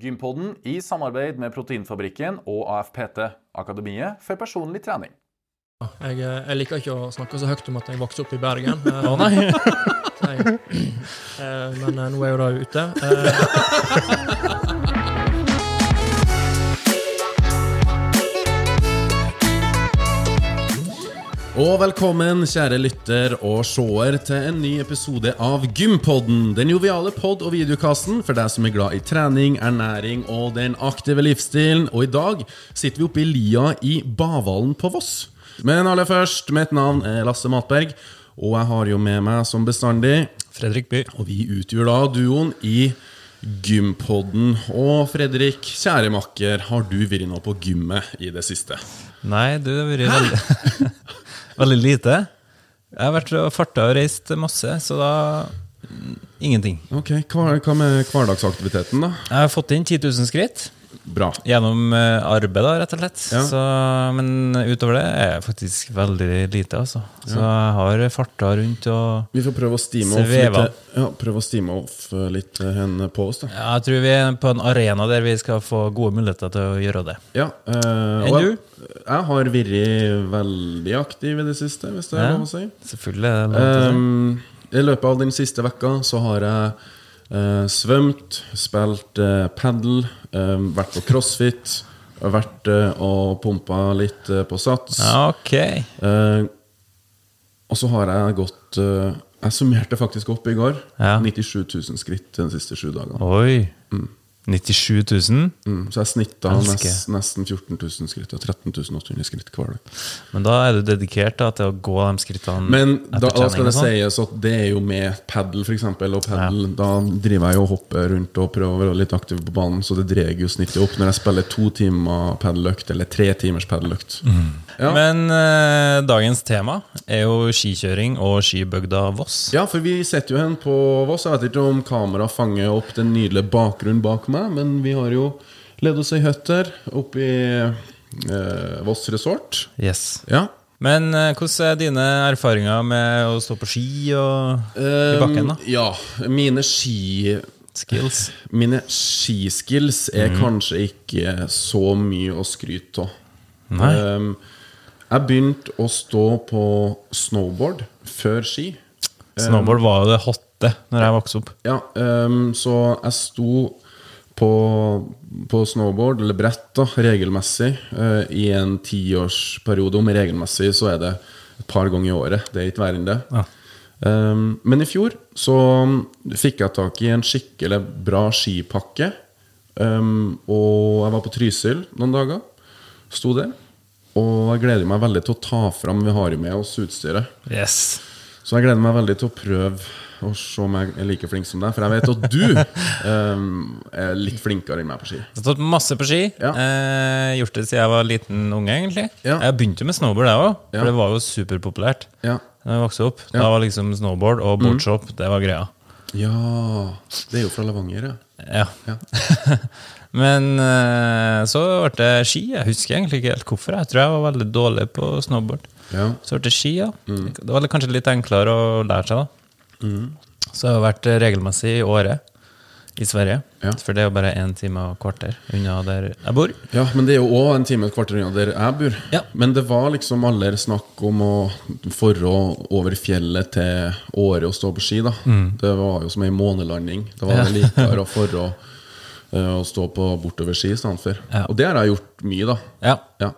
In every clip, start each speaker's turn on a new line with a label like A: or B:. A: Gympodden i samarbeid med Proteinfabrikken og AFPT, Akademiet for personlig trening.
B: Jeg, eh, jeg liker ikke å snakke så høyt om at jeg vokste opp i Bergen. Eh, nei. jeg, eh, men eh, nå er jo det ute. Eh,
C: Og velkommen, kjære lytter og seer, til en ny episode av Gympodden. Den joviale pod- og videokassen for deg som er glad i trening, ernæring og den aktive livsstilen. Og i dag sitter vi oppe i lia i Bavalen på Voss. Men aller først, mitt navn er Lasse Matberg, og jeg har jo med meg som bestandig
D: Fredrik By.
C: Og vi utgjør da duoen i Gympodden. Og Fredrik, kjære makker, har du vært nå på gymmet i det siste?
D: Nei, du det har vært veldig, veldig lite. Jeg har vært og farta og reist masse, så da mm, Ingenting.
C: Ok, hva, hva med hverdagsaktiviteten, da?
D: Jeg har fått inn 10 000 skritt
C: Bra.
D: gjennom eh, arbeid, da, rett og slett.
C: Ja.
D: Så, men utover det er jeg faktisk veldig lite, altså. Så jeg har farta rundt og
C: Vi får prøve å steame off litt, eh,
D: Sveva.
C: ja, prøve å steame off eh, litt eh, henne på oss, da.
D: ja, Jeg tror vi er på en arena der vi skal få gode muligheter til å gjøre det.
C: Ja, eh,
D: Enn
C: og
D: du?
C: Jeg, jeg har vært veldig aktiv i det siste, hvis det er
D: Ja.
C: lov å si.
D: Selvfølgelig. er det lov til å si.
C: Ehm, I løpet av den siste vekka så har jeg eh, svømt, spilt eh, padel, eh, vært på crossfit, vært eh, og pumpa litt eh, på sats.
D: Ja, ok.
C: Eh, og så har jeg gått eh, Jeg summerte faktisk opp i går.
D: Ja.
C: 97 000 skritt de siste sju dagene.
D: Oi. 97 000?
C: Mm, så jeg snitta
D: Elsker.
C: nest, nesten 14 000 skritt og 13 800 skritt hver dag.
D: Men da er du dedikert da, til å gå de skrittene
C: Men
D: etter
C: da, da
D: trening
C: skal
D: og
C: det
D: sånn?
C: sies at det er jo med padel, f.eks. Og padel, da driver jeg jo og hopper rundt og prøver å være litt aktiv på banen, så det drar jo snittet opp når jeg spiller to timer padeløkt eller tre timers padeløkt.
D: Mm.
C: Ja.
D: Men eh, dagens tema er jo skikjøring og skibygda Voss.
C: Ja, for vi setter jo hen på Voss. Jeg vet ikke om kameraet fanger opp den nydelige bakgrunnen bak meg, men vi har jo ledd oss ei høtt her oppe i eh, Voss resort.
D: Yes.
C: Ja.
D: Men eh, hvordan er dine erfaringer med å stå på ski og i bakken? da?
C: Eh, ja. Mine ski...
D: Skills?
C: Mine skiskills er kanskje ikke så mye å skryte av.
D: Nei.
C: Um, jeg begynte å stå på snowboard før ski. eh,
D: Snowboard var jo det hotte når jeg vokste opp.
C: Ja, ehm, så jeg sto på, på snowboard, eller brett, da, regelmessig eh, i en tiårsperiode. Om regelmessig så er det et par ganger i året. Det er ikke verre enn det.
D: Ja.
C: Ehm, men i fjor så um, fikk jeg tak i en skikkelig bra skipakke. Ehm, og jeg var på Trysil noen dager. Sto der. Og jeg gleder meg veldig til å ta fram Vi har jo med oss utstyret.
D: Yes.
C: Så jeg gleder meg veldig til å prøve å se om jeg er like flink som deg. For jeg vet at du ehm, er litt flinkere enn meg på ski.
D: Jeg har stått masse på ski.
C: Ja.
D: Eh, gjort det siden jeg var liten unge, egentlig.
C: Ja.
D: Jeg begynte jo med snowboard, jeg òg, for
C: Ja.
D: det var jo superpopulært.
C: Ja. Mm.
D: Da jeg vokste opp. Da var liksom snowboard og boardshop det var greia.
C: ja Det er jo fra Levanger, ja.
D: Ja. Men eh, så ble det ski. Jeg husker egentlig ikke helt hvorfor. Jeg tror jeg var veldig dårlig på snowboard.
C: Ja.
D: Så ble det ski, ja.
C: Mm.
D: Det var kanskje litt enklere å lære seg, da. Så jeg har vært regelmessig i året i Sverige.
C: Ja.
D: For det er jo bare én time og kvarter unna der jeg bor.
C: Ja, men det er jo òg en time og et kvarter unna der jeg bor.
D: Ja.
C: Men det var liksom aller snakk om å forå over fjellet til Åre og stå på ski, da. Det var jo som ei månelanding. Det var
D: Mm. Ja.
C: vel likere å forå eh, å stå på bortover ski i stedet for.
D: Ja.
C: Og det har jeg gjort mye, da.
D: Ja.
C: Ja.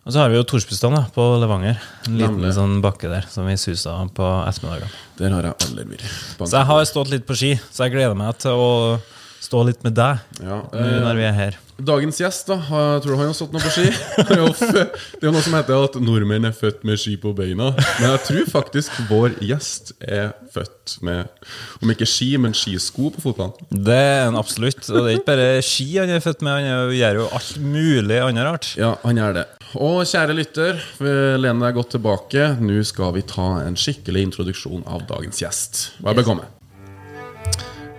D: Og så har vi jo Torsbustad da, på Levanger. En liten
C: Nemlig.
D: sånn bakke der som vi susa på ettermiddagene.
C: Der har jeg aldri vært.
D: Så jeg har stått litt på ski, så jeg gleder meg til å stå litt med deg
C: Ja, eh,
D: nå når vi er her.
C: Dagens gjest, da, har- tror du han har stått noe på ski? Det er jo f- det er jo noe som heter at nordmenn er født med ski på beina. Men jeg tror faktisk vår gjest er født med, om ikke ski, men skisko på fotene.
D: Det er han absolutt. Og det er ikke bare ski han er født med, han er- gjør jo alt mulig annet rart.
C: Ja, han er det. Og kjære lytter, eh, len deg godt tilbake. Nå skal vi ta en skikkelig introduksjon av dagens gjest. Vær bekomme.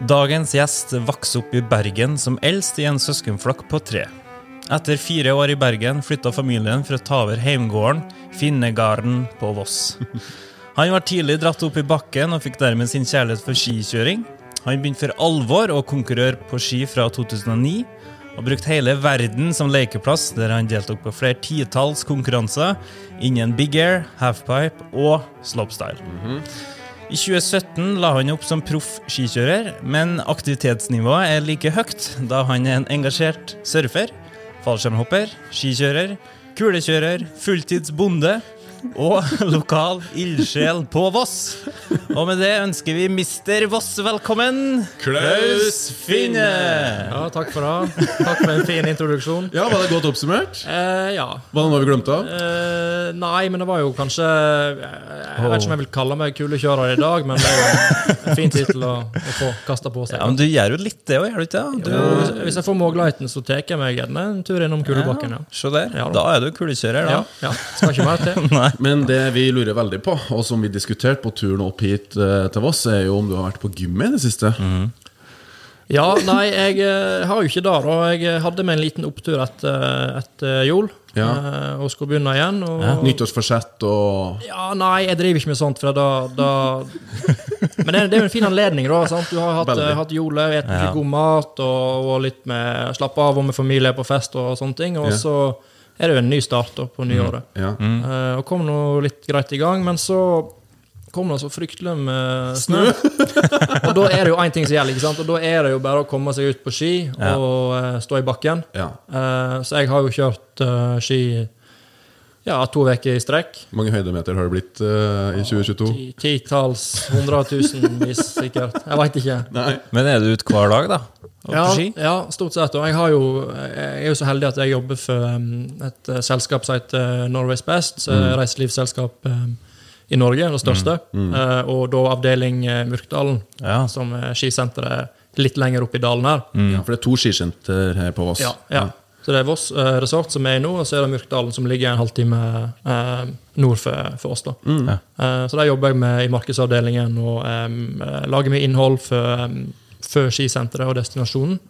D: Dagens gjest vokste opp i Bergen som eldst i en søskenflokk på tre. Etter fire år i Bergen flytta familien for å ta over heimgården, Finnegarden på Voss. Han var tidlig dratt opp i bakken og fikk dermed sin kjærlighet for skikjøring. Han begynte for alvor å konkurrere på ski fra 2009, og brukte hele verden som lekeplass, der han deltok på flere titalls konkurranser innen big air, halfpipe og slopestyle. I 2017 la han opp som proff skikjører, men aktivitetsnivået er like høyt, da han er en engasjert surfer, fallskjermhopper, skikjører, kulekjører, fulltidsbonde og lokal ildsjel på Voss. Og med det ønsker vi Mister Voss velkommen,
C: Klaus
D: Finne!
B: Ja, takk for det. Takk for en fin introduksjon.
C: Ja, Var det godt oppsummert?
B: Eh, ja.
C: Var det noe vi glemte av?
B: Eh, nei, men det var jo kanskje eh, Jeg vet ikke om jeg vil kalle meg kulekjører i dag, men det er jo en fin tittel å, å få kasta på seg.
D: Ja, men du gjør jo litt det òg, gjør du ikke det?
B: Jo, hvis, hvis jeg får muligheten, så tar jeg meg gjerne en tur innom Kulebakken. Ja.
D: Se der.
B: Ja da.
D: Da er du kulekjører,
B: Ja,
D: da.
B: ja. Skal ikke være til.
D: Nei.
C: Men det vi lurer veldig på, og som vi diskuterte på turen opp hit eh, til Voss, er jo om du har vært på gymmet i det siste.
B: Ja, nei, jeg eh, har jo ikke det. da. Jeg hadde meg en liten opptur etter et jul,
C: Ja.
B: eh, og skulle begynne igjen. Og,
C: Nyttårsforsett og
B: Ja, nei, jeg driver ikke med sånt, for da, da Men det, det er jo en fin anledning, da. Sant? Du har hatt,
C: Veldig.
B: eh, hatt jule, spist mye
D: Ja.
B: god mat og, og litt med slappe av og med familie på fest og sånne ting. Og
C: Ja. Mm.
B: så er det jo en ny start da, på nyåret.
C: ja.
B: Eh, og kom nå litt greit i gang, men så kom det så fryktelig med snø. og da er det jo én ting som gjelder, ikke sant? og da er det jo bare å komme seg ut på ski
D: Ja.
B: og eh, stå i bakken.
C: ja.
B: Eh, så jeg har jo kjørt eh, ski ja, to uker i strekk.
C: Hvor mange høydemeter har det blitt eh, i 2022?
B: Ti- Titalls, hundretusenvis sikkert. Jeg veit ikke.
C: Nei.
D: Men er du ute hver dag, da? Og
B: Ja,
D: på ski?
B: ja, stort sett. Og jeg, har jo, jeg er jo så heldig at jeg jobber for um, et eh, selskap som heter Norway's Best, som
D: Mm.
B: er et reiselivsselskap um, i Norge, det største. Eh, og da avdeling eh, Myrkdalen,
D: Ja.
B: som er skisenteret litt lenger oppe i dalen her.
C: Ja, for det er to skisenter her på Voss.
B: Ja, ja. Så det er Voss eh, resort som er i nå, og så er det Myrkdalen som ligger en halvtime eh, nord for, for oss. da.
D: Ja.
B: Eh, så der jobber jeg med i markedsavdelingen og em, eh, lager mye innhold for, em, for skisenteret og destinasjonen.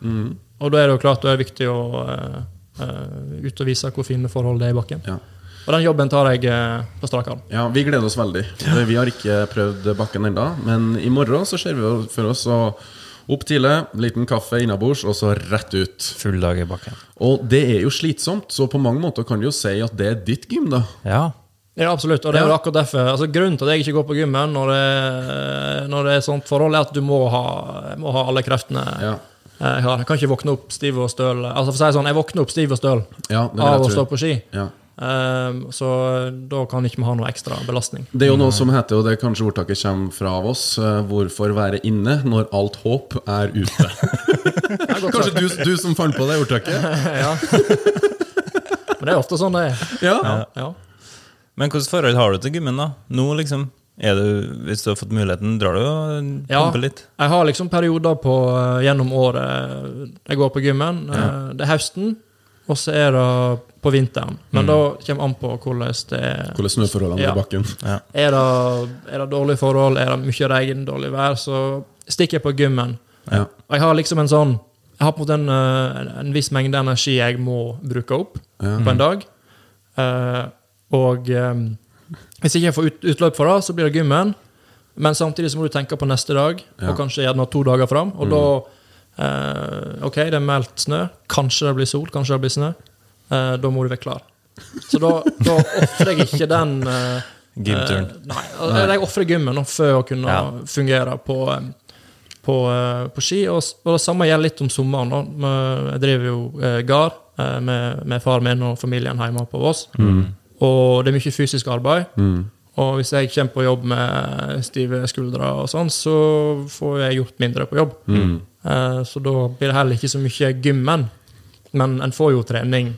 B: Og da er det jo klart det er viktig å eh, eh, ut og vise hvor fine forhold det er i bakken.
C: Ja.
B: Og den jobben tar jeg eh, på strak arm.
C: Ja, Vi gleder oss veldig. Eh, Vi har ikke prøvd bakken ennå, men i morgen så ser vi for oss å opp tidlig, liten kaffe innabords, og så rett ut.
D: Full dag i bakken.
C: Og det er jo slitsomt, så på mange måter kan du jo si at det er ditt gym, da.
D: Ja.
B: Ja, absolutt. Og det er jo akkurat derfor. Altså, grunnen til at jeg ikke går på gymmen når det, når det er sånt forhold, er at du må ha, må ha alle kreftene
C: Ja.
B: jeg har. Eh, Jeg kan ikke våkne opp stiv og støl. Altså, for å si det sånn, jeg våkner opp stiv og støl
C: Ja, det vil jeg
B: av å
C: tro.
B: stå på ski.
C: Ja.
B: Ehm, så da kan ikke vi ha noe ekstra belastning.
C: Det er jo noe som heter, og det er kanskje ordtaket kommer fra av oss, eh, 'hvorfor være inne når alt håp er ute'? kanskje du, du som fant på det ordtaket?
B: ja. Men det er ofte sånn det er.
C: Ja.
B: Ja.
D: Men hvilket forhold har du til gymmen, da? Nå, liksom? Er du, hvis du har fått muligheten, drar du og
B: Ja.
D: pumper litt?
B: Jeg har liksom perioder på, eh, gjennom året jeg går på gymmen. Eh, Det er høsten, og så er det på vinteren.
C: Mm.
B: Men da kommer an på hvordan det er.
C: Hvordan snøforholdene
B: Ja.
C: er i bakken.
B: Er det, er det dårlige forhold, er det mye regn, dårlig vær, så stikker jeg på gymmen.
C: Ja.
B: Og jeg har liksom en sånn Jeg har på en måte en, eh, en, en viss mengde energi jeg må bruke opp
C: Ja.
B: på en dag. Eh, og eh, hvis ikke jeg får ut, utløp for det, så blir det gymmen. Men samtidig så må du tenke på neste dag,
C: Ja. Mm.
B: og kanskje gjerne to dager fram. Og da eh, Ok, det er meldt snø. Kanskje det blir sol, kanskje det blir snø. Eh, da må du være klar. Så da, da ofrer jeg ikke den eh,
D: Gymturen.
B: eh, nei, eller jeg ofrer gymmen nå for å kunne
D: Ja.
B: fungere på, eh, på, eh, på ski. Og, s- og det samme gjelder litt om sommeren. Da. Men Jeg driver jo eh, gard eh, med, med far min og familien hjemme på Voss.
D: Mm.
B: Og det er mye fysisk arbeid.
C: Mm.
B: Og hvis jeg kommer på jobb med stive skuldre, og sånn, så får jeg gjort mindre på jobb.
D: Mm.
B: Eh, Så da blir det heller ikke så mye gymmen. Men en får jo trening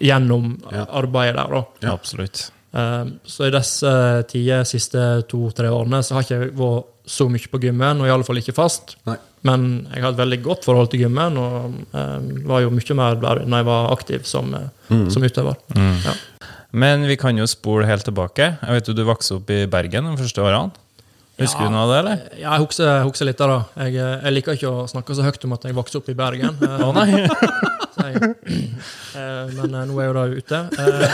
B: gjennom
C: Ja.
B: arbeidet der, da.
C: Ja.
D: Absolutt.
B: Eh, Så i disse tider, siste to-tre årene, så har ikke jeg vært så mye på gymmen, og i alle fall ikke fast.
C: Nei.
B: Men jeg har et veldig godt forhold til gymmen, og eh, var jo mye mer der når jeg var aktiv som, eh, som utøver. Ja.
D: Men vi kan jo spole helt tilbake. Jeg vet jo Du vokste opp i Bergen de første årene. Husker du noe av det, eller?
B: Eh, Ja, jeg husker, husker litt av det. Jeg, eh, jeg liker ikke å snakke så høyt om at jeg vokste opp i Bergen. eh,
D: Å nei!
B: så jeg, eh, men eh, nå er jeg jo da ute. Eh,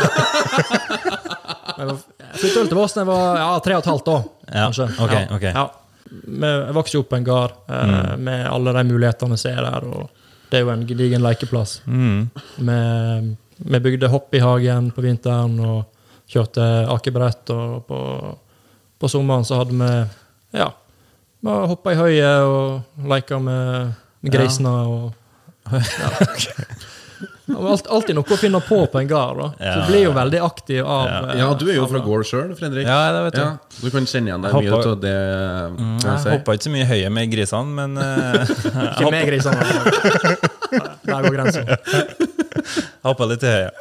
B: jeg var- jeg flyttet vel til Voss da jeg var ja, tre og et halvt år,
D: Ja,
B: kanskje.
D: ok, Mm. ok.
B: Ja. med, jeg vokste jo opp på en gard eh, med alle de mulighetene som er der. og Det er jo en gedigen lekeplass.
D: Mm.
B: Med, vi bygde hopp i hagen på vinteren og kjørte akebrett. Og på, på sommeren så hadde vi ja, hoppa i høyet og leika med grisene. og ja. Det var alt- Alltid noe å finne på på en gard. da. Så
D: Ja.
B: du blir jo veldig aktiv av eh,
C: Ja, du er jo fra
B: av-
C: gård sjøl, Fredrik.
D: Ja, det vet jeg.
C: du kan kjenne igjen deg
D: Jeg
C: mye
D: hoppa-
C: av det jeg
D: Jeg
C: sier.
D: hoppa ikke så mye i høyet med grisene, men eh, jeg
B: Ikke med grisene. Der går grensa.
D: hoppa litt i høyet.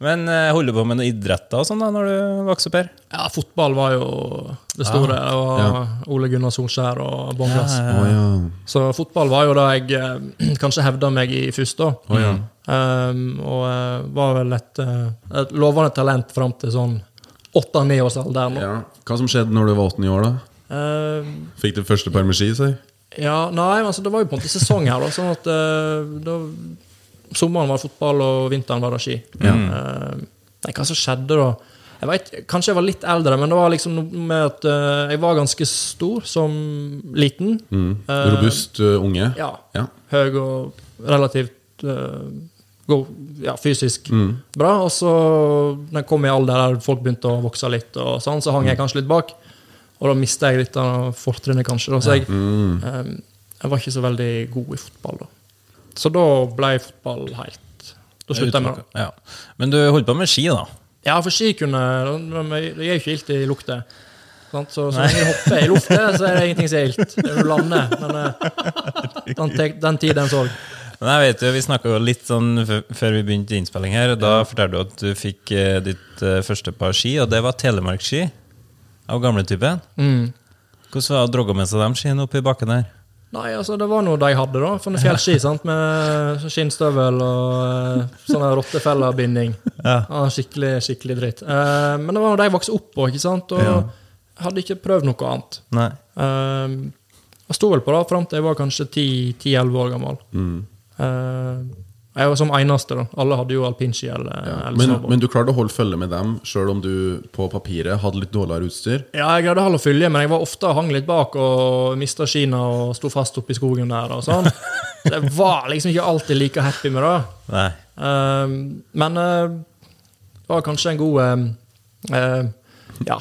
D: Men eh, holder du på med noen idretter og sånn da, når du vokser opp her?
B: Ja, fotball var jo det store. Og Ole Gunnar Solskjær og Bongas.
C: Å ja.
B: Så fotball var jo det jeg eh, kanskje hevda meg i først, da. Ehm, og eh, var vel et, eh, et lovende talent fram til sånn åtte-ni års alder. nå.
C: ja. Hva som skjedde når du var 18 år, da?
B: Ehm,
C: Fikk du første par med ski, sier
B: ja, nei, men altså, det var jo på en måte sesong her, da. Sånn at eh, da, sommeren var det fotball, og vinteren var det ski. Eh, nei, hva som skjedde da? Jeg vet, kanskje jeg var litt eldre, men det var liksom noe med at eh, jeg var ganske stor som liten. Eh,
C: Mm. Robust ø, unge?
B: ja.
C: Ja.
B: Høy og relativt eh, god, ja, fysisk bra. Og så når jeg kom i alder der folk begynte å vokse litt, og sånn, så hang jeg kanskje litt bak. Og da mista jeg litt av fortrinnet, kanskje. Da. Så jeg, eh, jeg var ikke så veldig god i fotball da. Så da ble fotball helt Da slutta jeg med det.
D: Ja. Men du holder på med ski, da?
B: Ja, for ski kunne Det det gjør jo ikke ilt i lukta. Sant? Så så lenge du hopper i lufta, så er det ingenting som er ilt. Det er Du lander, men eh, den, te- den tid, den sorg.
D: Men jeg vet jo, Vi snakka litt sånn f- før vi begynte innspilling her. og Da fortalte du at du fikk eh, ditt eh, første par ski, og det var telemarkski av gamletypen.
B: Mm.
D: Hvordan var det å drogge med seg de skiene oppi bakken der?
B: Nei, altså det var noe de hadde, da. Sånne fjellski sant? med skinnstøvel og eh, sånne rottefellebinding.
D: Ja.
B: Ja, skikkelig skikkelig dritt. Eh, men det var noe de vokste opp på, ikke sant? og jeg hadde ikke prøvd noe annet.
D: Nei.
B: Eh, jeg sto vel på det fram til jeg var kanskje 10-11 år gammel. Eh, jeg var som eneste, da. Alle hadde jo alpinski eller, eller
C: Men,
B: snowboard.
C: men du klarte å holde følge med dem, sjøl om du på papiret hadde litt dårligere utstyr?
B: Ja, jeg greide å holde fylje, men jeg var ofte hang litt bak og mista skina og sto fast oppi skogen der og sånn. Det var liksom ikke alltid like happy med det.
D: Nei.
B: Ehm, men eh, det var kanskje en god eh, eh, ja,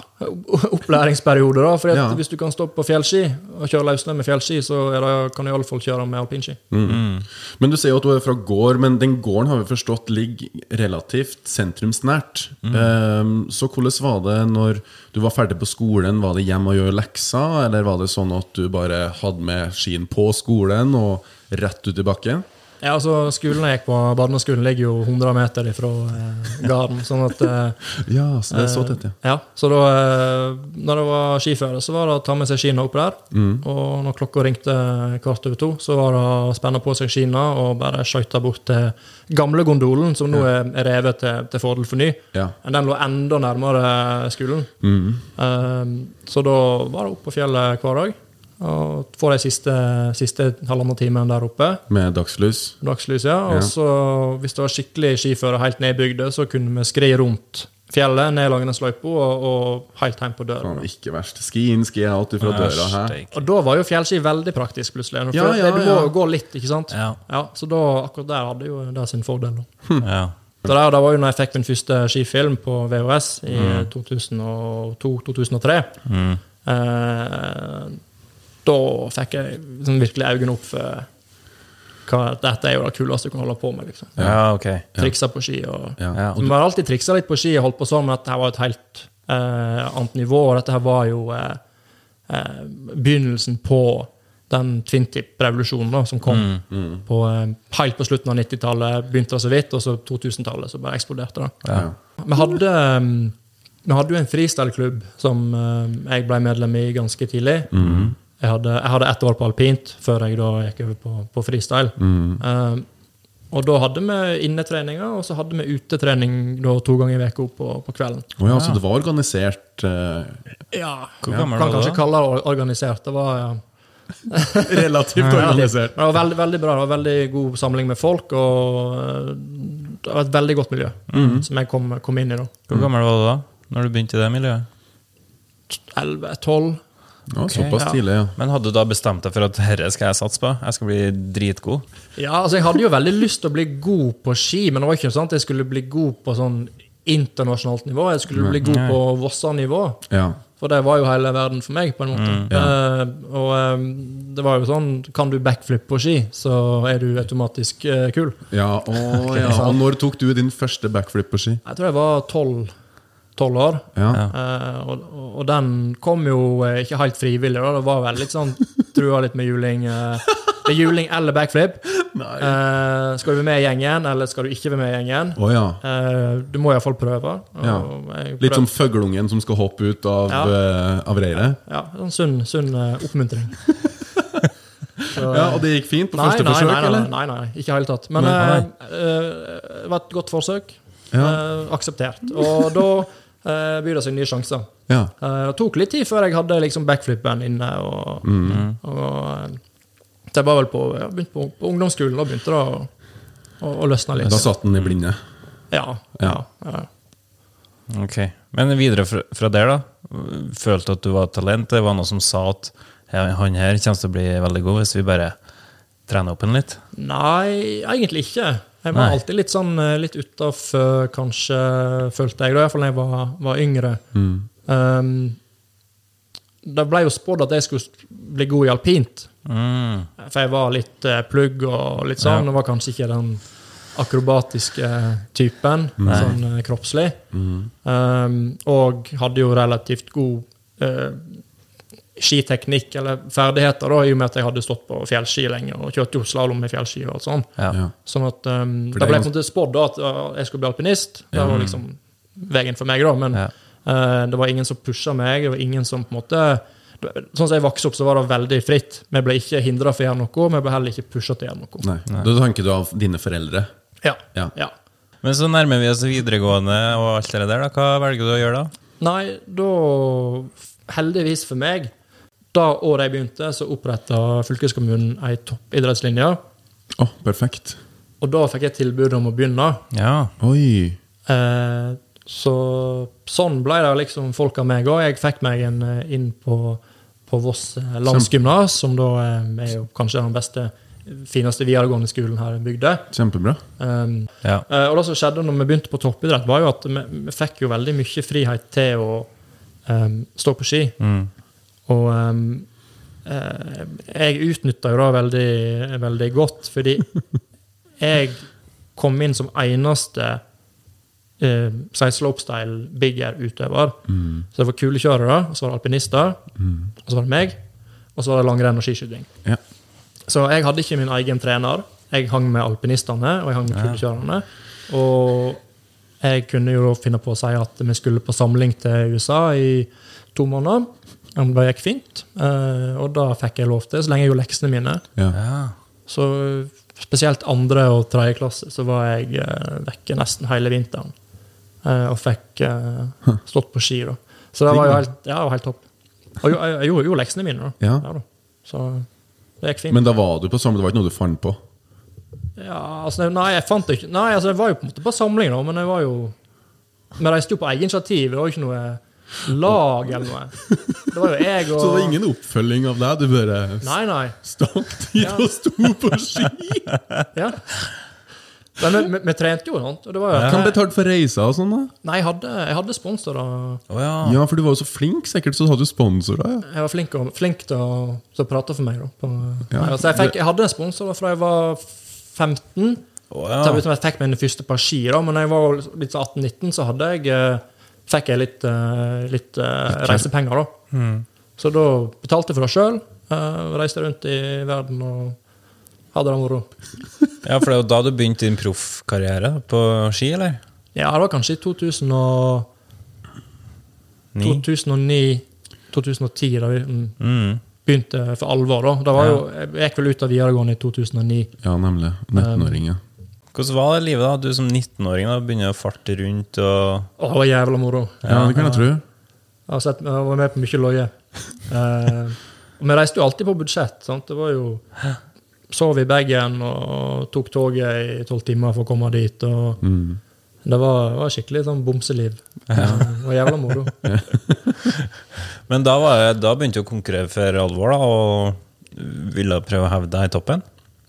B: opplæringsperiode, da. For
C: Ja.
B: hvis du kan stå på fjellski og kjøre løssnø med fjellski, så er det, kan du iallfall kjøre med alpinski.
C: Mm. Men du sier jo at du er fra gård, men den gården har vi forstått ligger relativt sentrumsnært. Ehm, så hvordan var det når du var ferdig på skolen? Var det hjem og gjøre lekser, eller var det sånn at du bare hadde med skien på skolen og rett ut i bakken?
B: Ja, altså, skolen jeg gikk på, barneskolen, ligger jo 100 meter ifra eh, garden, sånn at eh,
C: Ja, så det er så
B: Eh,
C: tett, ja.
B: Ja, så da eh, når det var skiføre, så var det å ta med seg skiene opp der.
C: Mm.
B: Og når klokka ringte kvart over to, så var det å spenne på seg skiene og bare skøyte bort til gamle gondolen, som nå er er revet til, til fordel for ny.
C: Ja. Mm.
B: Men den lå enda nærmere skolen. Eh, så da var det opp på fjellet hver dag. Og få de siste, siste halvannen timen der oppe.
C: Eh, Med dagslys.
B: Dagslys, ja. Og
C: Ja.
B: så, hvis det var skikkelig skiføre helt ned i bygda, så kunne vi skri rundt fjellet, ned Langenesløypa og, og helt hjem på døra.
C: Faen, ikke verst. Ski inn, ski out ifra døra her.
D: Steik.
B: Og da var jo fjellski veldig praktisk, plutselig. For
C: Ja, ja,
B: Du må
C: ja.
B: jo gå litt, ikke sant?
D: Ja.
B: Så da, akkurat der hadde jo det sin fordel. Da.
D: ja.
B: Så der, det var jo når jeg fikk min første skifilm på VHS i
C: Mm.
B: 2002-2003. Eh, da fikk jeg liksom virkelig øynene opp for hva, dette er jo det kuleste du kan holde på med. liksom.
D: ja, ok.
B: Triksa på ski og
C: Ja.
D: Ja.
B: Vi har alltid triksa litt på ski og holdt på sånn, men dette her var et helt eh, annet nivå. Og dette her var jo eh, eh, begynnelsen på den twintip-revolusjonen da, som kom På, eh, helt på slutten av 90-tallet. Begynte det så vidt, og så 2000-tallet så bare eksploderte det.
C: Ja.
B: Vi hadde, um, vi hadde jo en freestyle-klubb som um, jeg ble medlem i ganske tidlig.
D: Mhm.
B: Jeg, hadde, jeg hadde ett år på alpint før jeg da gikk over på, på freestyle.
D: Mhm.
B: Um, og da hadde vi innetreninger, og så hadde vi utetrening da, to ganger i uka på, på kvelden.
C: Å ja, så det var organisert eh,
B: Ja,
D: Hvor gammel
B: Kan
D: var du
B: kanskje
D: da?
B: kalle det or- organisert. Det var ja,
C: Relativt
B: organisert. Det var veldig, veldig bra. Det var veldig god samling med folk, og uh, det var et veldig godt miljø
D: Mhm.
B: som jeg kom, kom inn i da.
D: Hvor gammel var du da når du begynte i det miljøet?
B: 11-12.
C: Ja, såpass
D: ja.
C: tidlig, ja.
D: Men hadde du da bestemt deg for at herre skal jeg satse på? Jeg skal bli dritgod?
B: Ja, altså jeg hadde jo veldig lyst til å bli god på ski, men det var ikke sånn at jeg skulle bli god på sånn internasjonalt nivå. Jeg skulle bli god på Vossa-nivå.
C: ja.
B: For det var jo hele verden for meg, på en måte. Eh, og eh, det var jo sånn Kan du backflip på ski, så er du automatisk eh, kul.
C: Ja, å, ja. Og når tok du din første backflip på ski?
B: Jeg tror jeg var tolv tolv år.
C: Ja.
B: Eh, og, og- og den kom jo eh, ikke helt frivillig. Da. Det var vel litt sånn trua litt med juling. eh, det er juling eller backflip. Eh, skal du være med i gjengen, eller skal du ikke være med i gjengen?
C: Å ja.
B: Eh, du må iallfall prøve. og
C: Ja.
B: jeg
C: Litt
B: prøv-
C: som føglungen som skal hoppe ut av,
B: Ja.
C: eh, av reiret?
B: Ja, sånn sunn, sunn eh, oppmuntring. Så,
C: Ja, og det gikk fint på
B: nei,
C: første
B: nei,
C: forsøk,
B: nei, nei,
C: eller?
B: Nei, nei, ikke i det hele tatt. Men
C: Nei.
B: eh, eh, det var et godt forsøk.
C: Ja.
B: Eh, akseptert. Og da eh, byr det seg nye sjanser.
C: Ja.
B: Eh, Det tok litt tid før jeg hadde liksom backflippen inne. Og,
C: Mm.
B: og, eh, det var vel på, ja, begynte på, på ungdomsskolen, da begynte det å, å, å løsne litt.
C: Da satt den i blinde.
B: Ja, ja, ja.
D: Ok. Men videre fra, fra der, da? Følte at du var et talent? Det var noe som sa at «Ja, han her kommer til å bli veldig god hvis vi bare trener opp han litt?
B: Nei, egentlig ikke. Jeg var
D: Nei.
B: alltid litt sånn eh, litt utafor, kanskje, følte jeg, da, iallfall da jeg var, var yngre.
C: Mm.
B: Um, det ble jo spådd at jeg skulle bli god i alpint,
D: Mm.
B: for jeg var litt eh, plugg og litt sånn, og var kanskje ikke den akrobatiske typen, sånn eh, kroppslig. Um, og hadde jo relativt god eh, skiteknikk, eller ferdigheter, da, i og med at jeg hadde stått på fjellski lenge, og kjørte jo slalåm med fjellski og alt sånn.
D: Ja.
C: Ja.
B: Sånn at um,
C: For
B: Da
C: det er
B: ble jeg
C: gans-
B: på en måte spådd da at uh, jeg skulle bli alpinist. Det var liksom veien for meg, da. Men
D: Ja.
B: uh, det var ingen som pusha meg. Det var ingen som på en måte Sånn som jeg vokste opp, så var det veldig fritt. Vi ble ikke hindra for å gjøre noe, men vi ble heller ikke pusha til å gjøre noe.
C: Nei. Da tenker du av dine foreldre.
B: Ja.
C: Ja.
B: Ja.
D: Men så nærmer vi oss videregående og alt det der. da. Hva velger du å gjøre da?
B: Nei, da Heldigvis for meg, da året jeg begynte, så oppretta fylkeskommunen ei toppidrettslinje.
C: Å, perfekt.
B: Og da fikk jeg tilbud om å begynne.
D: Ja.
C: Oi.
B: Eh, så sånn ble det liksom folk av meg òg. Jeg fikk meg en eh, inn på, på Voss eh, landsgymnas, som da eh, er jo kanskje den beste, fineste videregående skolen her i bygda.
C: Kjempebra.
B: Um,
D: ja.
B: eh, og det som skjedde når vi begynte på toppidrett, var jo at vi, vi fikk jo veldig mye frihet til å em, stå på ski.
D: Mm.
B: Og em, eh, jeg utnytta jo det veldig, veldig godt, fordi jeg kom inn som eneste eh, si slopestyle bigger-utøver.
C: Mm.
B: Så det var kulekjørere, og så var det alpinister, og så var det meg, og så var det langrenn og skiskyting.
C: Ja.
B: Så jeg hadde ikke min egen trener. Jeg hang med alpinistene og jeg hang med kulekjørerne. Og jeg kunne jo finne på å si at vi skulle på samling til USA i to måneder. Om Det gikk fint, eh, og da fikk jeg lov til, så lenge jeg gjorde leksene mine.
C: Ja.
D: ja.
B: Så spesielt andre og tredje klasse så var jeg eh, vekke nesten hele vinteren. eh, og fikk eh, stått på ski, da. Så det var jo helt, ja, det var helt topp. Og jo- jeg, jeg gjorde jo leksene mine, da.
C: Ja.
B: da. Så det gikk fint.
C: Men da var du på samme, det var ikke noe du fant på?
B: Ja, altså, nei, jeg fant det ikke Nei, altså, jeg var jo på en måte på samling, da, men jeg var jo Vi reiste jo på eget initiativ, det var jo ikke noe lag eller noe. Det var jo jeg og
C: Så det var ingen oppfølging av deg? Du bare
B: Nei, nei.
C: stakk dit og sto på ski?
B: Ja. Men vi, vi, vi trente jo, sant? og det var jo
C: Hvem betalte for reiser og sånn, da?
B: Nei, jeg hadde, jeg hadde sponsor, og
D: Å ja.
C: Ja, for du var jo så flink, sikkert, så hadde du sponsorer. Ja.
B: jeg var flink, og, flink til å til å prate for meg, da. På,
C: Ja.
B: nei, altså, jeg, fikk, jeg hadde en sponsor da fra jeg var 15.
D: Å
B: Så jeg
D: ja.
B: vet om jeg fikk mine første par ski, da, men da jeg var litt sånn 18-19, så hadde jeg, eh, fikk jeg litt, eh, litt eh, reisepenger. da. Så da betalte jeg for det sjøl. Reiste rundt i verden og hadde det moro.
D: ja, for det er jo da du begynte din proffkarriere da, på ski, eller?
B: Ja, det var kanskje i 2000 og-
D: Ni?
B: 2009-2010 da vi mm,
D: Mm.
B: begynte for alvor. da. Det var jo, jeg gikk vel ut av videregående i 2009.
C: Ja, nemlig. 19-åring, ja.
D: Hvordan var det livet da? Du som 19-åring da, begynner å farte rundt og
B: Å, det var jævla moro.
C: Ja, det kan jeg tro.
B: Jeg har sett, jeg var med på mye løye. Eh, og vi reiste jo alltid på budsjett. sant? Det var jo Sov i bagen og tok toget i tolv timer for å komme dit. og Det var, var skikkelig sånn bomseliv. Eh, Det var jævla moro.
D: Men da, var jeg, da begynte jeg å konkurrere for alvor, da, og ville prøve å hevde deg i toppen.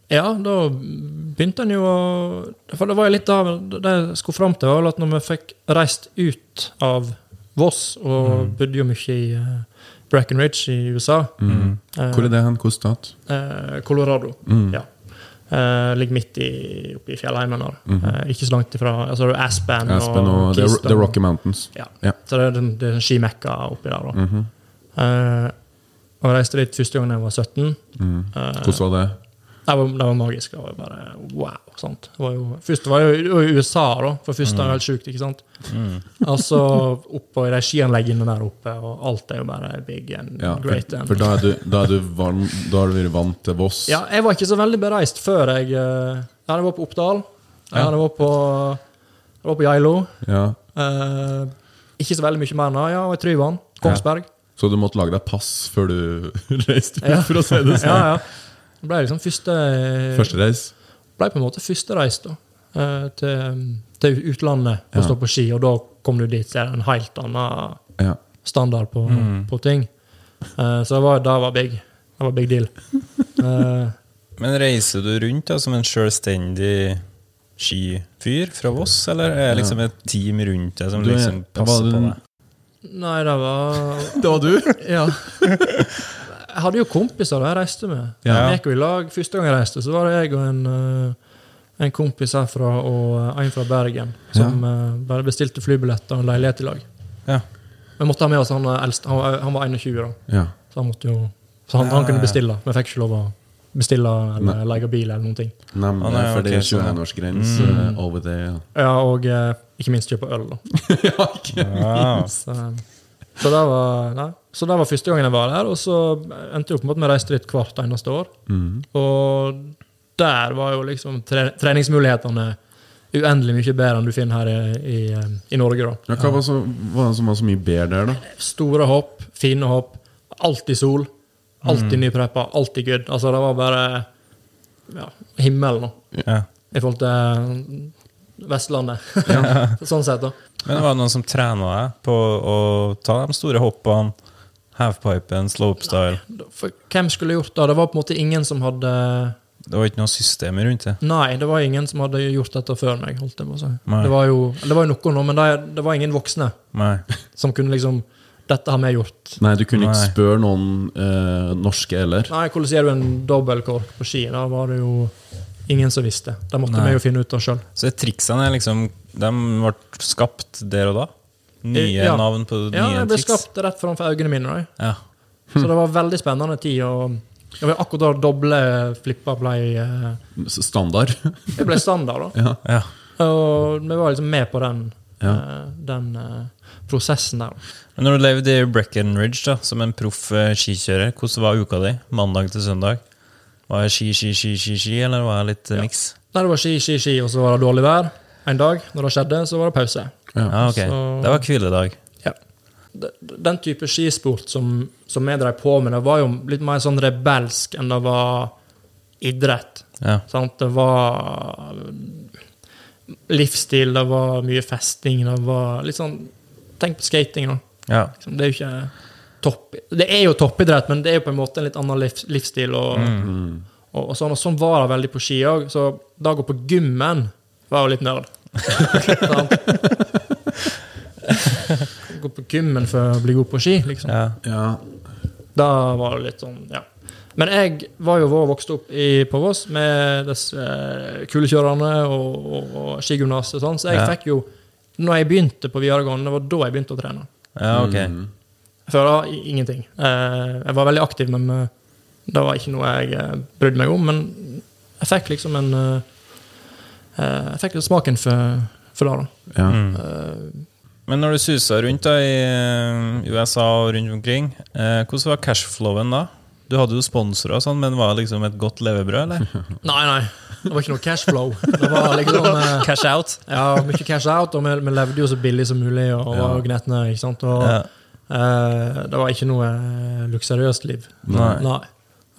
B: Ja, da begynte en jo å For det var jo litt da det jeg skulle fram til, var vel at når vi fikk reist ut av Voss, og
C: Mm.
B: bodde jo mye i eh, Breckenridge i USA eh,
C: Hvor er det Mm. hen? Hvilken stat?
B: eh, Colorado. Ja. Eh, ligger midt i, oppe i fjellheimen der. Eh, ikke så langt ifra altså det er Aspen,
C: Mm-hmm. Aspen og The,
B: Keystone.
C: The Rocky Mountains. Mhm.
B: Ja.
C: Ja. Mm.
B: Så det er den, det er en skimekka oppi der. da. Eh, og jeg reiste dit første gang da jeg var 17. Eh,
C: Hvordan var det?
B: det var, det var magisk. Det var jo bare wow. sant? Det var jo, først var jeg jo i USA, da, for først
C: Mm.
B: var det helt sjukt. ikke sant? Og så oppå i de skianleggene der oppe, og alt er jo bare big and
C: Ja,
B: great.
C: for,
B: And,
C: for da er du, da er du, varm, da har du vært vant til Voss.
B: ja, jeg var ikke så veldig bereist før jeg eh, Ja, det var på Oppdal. Ja, det var på, det var på Geilo.
C: Ja.
B: Eh, ikke så veldig mye mer enn det. Ja, og i Tryvann. Kongsberg.
C: Så du måtte lage deg pass før du reiste ut,
B: Ja.
C: for å si det
B: Ja,
C: sånn.
B: ja. Det ble liksom første
C: Første reis.
B: ble på en måte første reis da, eh, til, til utlandet for å stå på ski, og da kom du dit, så er det en helt annen
C: Ja.
B: standard på, på ting. Eh, så det var, det var big. Det var big deal. Eh,
D: Men reiser du rundt da som en selvstendig skifyr fra Voss, eller er det liksom et team rundt deg som
C: Du er-
D: liksom
C: var
D: passer
C: du-
D: på deg?
B: nei, det var
C: Det var du?
B: Ja. Jeg hadde jo kompiser da jeg reiste med.
D: Ja.
B: Vi gikk jo i lag. Første gang jeg reiste, så var det jeg og en, eh, en kompis herfra og eh, en fra Bergen som eh, bare bestilte flybilletter og en leilighet i lag.
D: Ja.
B: Vi måtte ha med oss han eh, eldste. Han, var- han var 21 da.
C: Ja.
B: Så han måtte jo Så han, han kunne bestille. Vi fikk ikke lov å bestille eller leie bil eller noen ting.
C: Nemlig,
D: Å, nei,
C: for det er
D: ok, sånn, ja.
C: 21-årsgrense over det. Ja.
B: Ja, og eh, ikke minst kjøpe øl, da.
D: Ah,
B: Så, eh, så, det var, nei. så det var første gangen jeg var der. Og så endte jeg opp med at vi reiste dit hvert eneste år. Og der var jo liksom tre, treningsmulighetene uendelig mye bedre enn du finner her i, i, eh, i Norge, da.
C: Ja, hva var, så, var det som var så mye bedre der, da?
B: Store hopp, fine hopp, alltid sol. Alltid nypreppa, alltid good. Altså, det var bare ja, himmelen, da.
D: ja.
B: I forhold til Vestlandet. sånn sett, da.
D: Men det var noen som trena deg på å ta de store hoppene, halfpipen, slopestyle.
B: For hvem skulle gjort det? Det var på en måte ingen som hadde
D: Det var ikke noe system rundt det.
B: Nei, det var ingen som hadde gjort dette før meg. holdt jeg på å si.
D: Nei.
B: Det var jo, det var jo noen, nå, men det, det var ingen voksne
D: Nei.
B: som kunne liksom Dette har vi gjort.
C: Nei, du kunne ikke
D: Nei.
C: spørre noen eh, norske eller.
B: Nei, hvordan gjør du en dobbeltkork på ski? Da var det jo ingen som visste. Det måtte
D: Nei.
B: vi jo finne ut av sjøl.
D: Så triksene er liksom De ble skapt der og da? Nye
B: Ja.
D: navn på
B: Ja,
D: nye Hm.
B: jeg ble
D: triks?
B: skapt rett framfor øynene mine. Da.
D: Ja.
B: Så det var veldig spennende tid. og det var akkurat da doble flipper ble, eh,
C: S- Standard.
B: det ble standard. da.
C: ja.
D: ja.
B: Og vi var liksom med på den,
C: Ja.
B: eh, den eh, prosessen der.
D: Men når du levde i Breckenridge da, som en proff eh, skikjører, hvordan var uka di? Mandag til søndag? Var det ski, ski, ski, ski, ski eller var det litt eh, miks?
B: Der det var ski, ski, ski, og så var det dårlig vær. En dag, når det skjedde, så var det pause.
D: Ja, ok.
B: Så-
D: Det var hviledag.
B: Ja. D- d- Den type skisport som, som jeg drev på med, det var jo litt mer sånn rebelsk enn det var idrett.
D: Ja.
B: Sant? Det var eh, livsstil, det var mye festing, det var litt sånn Tenk på skating, da.
D: ja.
B: Liksom, det er jo ikke topp... Det er jo toppidrett, men det er jo på en måte en litt annen livs, livsstil. Og,
D: Mm.
B: og, og, sånn, og sånn var det veldig på ski òg. Så det å gå på gymmen var jo litt nerd. Sant? gå på gymmen for å bli god på ski, liksom.
D: ja.
C: Ja.
B: Da var det litt sånn, ja. Men jeg var jo vår vokst opp i, på Voss med disse eh, kulekjørerne og, og, og skigymnas og sånn, så jeg
D: Ja.
B: fikk jo Når jeg begynte på videregående, det var da jeg begynte å trene.
D: ja,
B: Ah,
D: ok.
C: Mm.
B: Før da i- ingenting. Eh, jeg var veldig aktiv, men eh, det var ikke noe jeg eh, brydde meg om. Men jeg fikk liksom en eh, eh, Jeg fikk litt smaken for, for det, da.
C: ja.
D: Men når du susa rundt da i eh, USA og rundt omkring, eh, hvordan var cashflowen da? Du hadde jo sponsorer og sånn, men var det liksom et godt levebrød, eller?
B: Nei, nei. Det var ikke noe cash flow. Det var liksom eh,
D: Cash out?
B: ja, mye cash out, og vi, vi levde jo så billig som mulig og var jo gnetne. ikke sant? Og,
D: Ja.
B: eh, det var ikke noe eh, luksuriøst liv.
D: Nei.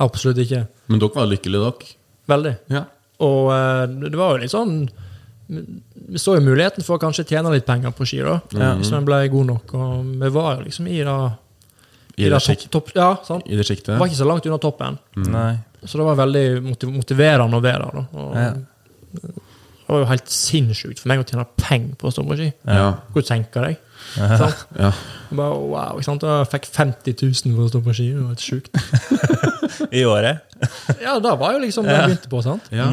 B: Absolutt ikke.
C: Men dere var lykkelige, dere.
B: Veldig.
C: Ja.
B: Og eh, det var jo litt sånn Vi så jo muligheten for å kanskje tjene litt penger på ski, da. Hvis man ble god nok. Og vi var jo liksom i det
C: I
B: de der
C: det, sjik
B: topp, topp, ja, sant?
C: i det
B: Det
C: sjiktet.
B: var ikke så langt unna toppen.
D: Nei.
B: Så det var veldig motiv- motiverende å være der. da. Og,
D: Ja.
B: Det var jo helt sinnssykt for meg å tjene penger på å stå på ski.
C: Ja.
B: Hvor du tenker deg. sant?
C: ja.
B: Jeg Bare, wow, ikke sant? Jeg fikk 50 000 for å stå på ski. Det var helt sjukt.
D: I året. Mm.
B: Ja, det var jo liksom det jeg begynte på. sant?
C: ja.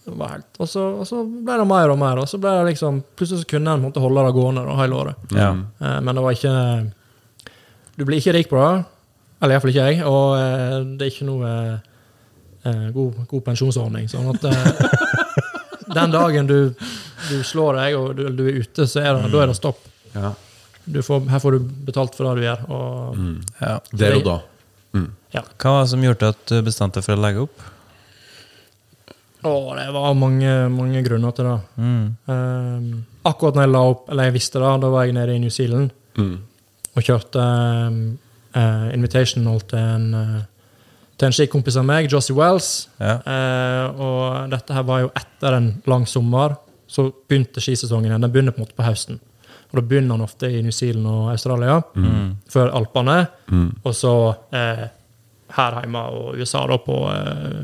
B: Det var helt. Og, så, og så ble det mer og mer. og så ble det liksom, Plutselig så kunne en på en måte holde det gående da, hele året.
D: Ja.
B: Eh, Men det var ikke Du blir ikke rik på det. Eller iallfall ikke jeg. Og eh, det er ikke noe eh, god, god pensjonsordning. Sånn at eh, den dagen du, du slår deg og du, du er ute, så er det, da er det stopp.
C: ja.
B: Du får, her får du betalt for det du gjør. Og,
C: Mm.
D: ja.
C: Der og da.
D: Hva var det som gjorde at du bestemte deg for å legge opp?
B: Å, det var mange, mange grunner til det.
D: Mm.
B: Eh, akkurat når jeg la opp, eller jeg visste det, da var jeg nede i New Zealand
C: Mm.
B: og kjørte eh, invitational til en, eh, til en skikompis av meg, Jossie Wells.
D: Ja.
B: Eh, og dette her var jo etter en lang sommer, så begynte skisesongen igjen. Den begynner på en måte på høsten. Og da begynner den ofte i New Zealand og Australia, før Alpene. Og så eh, her hjemme og USA da på eh,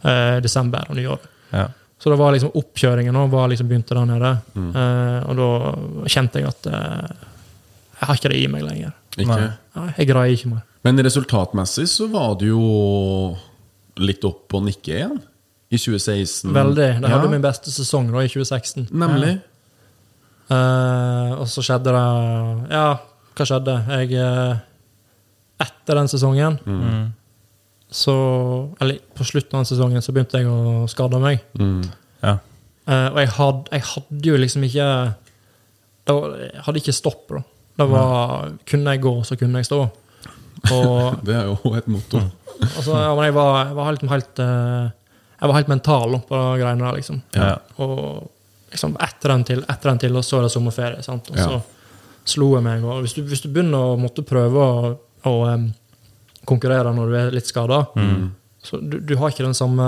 B: eh, desember og nyår.
D: Ja.
B: Så det var liksom oppkjøringen nå, var liksom begynte der nede. Eh, og da kjente jeg at eh, jeg har ikke det i meg lenger.
C: Ikke?
D: Nei.
B: Nei, jeg greier ikke mer.
C: Men resultatmessig så var det jo litt opp og nikke igjen. I 2016.
B: Veldig. Det hadde
C: Mm. Ja,
B: min beste sesong da, i 2016.
C: Nemlig.
B: Eh, og så skjedde det Ja, hva skjedde? Jeg eh, Etter den sesongen så Eller på slutten av den sesongen så begynte jeg å skade meg.
D: Ja.
B: Eh, og jeg hadde, jeg hadde jo liksom ikke det var, Jeg hadde ikke stopp, da. Det var Kunne jeg gå, så kunne jeg stå. Og
C: Det er jo et motto.
B: altså, ja, men jeg var, jeg var helt, helt eh, Jeg var helt mental på de greiene der, liksom.
D: Ja.
B: Og liksom, etter den til, etter den til, og så er det sommerferie. Sant? Og
C: Ja.
B: så slo jeg meg. Og hvis, du, hvis du begynner å måtte prøve å, å em, konkurrere når du er litt skada, så du, du har ikke den samme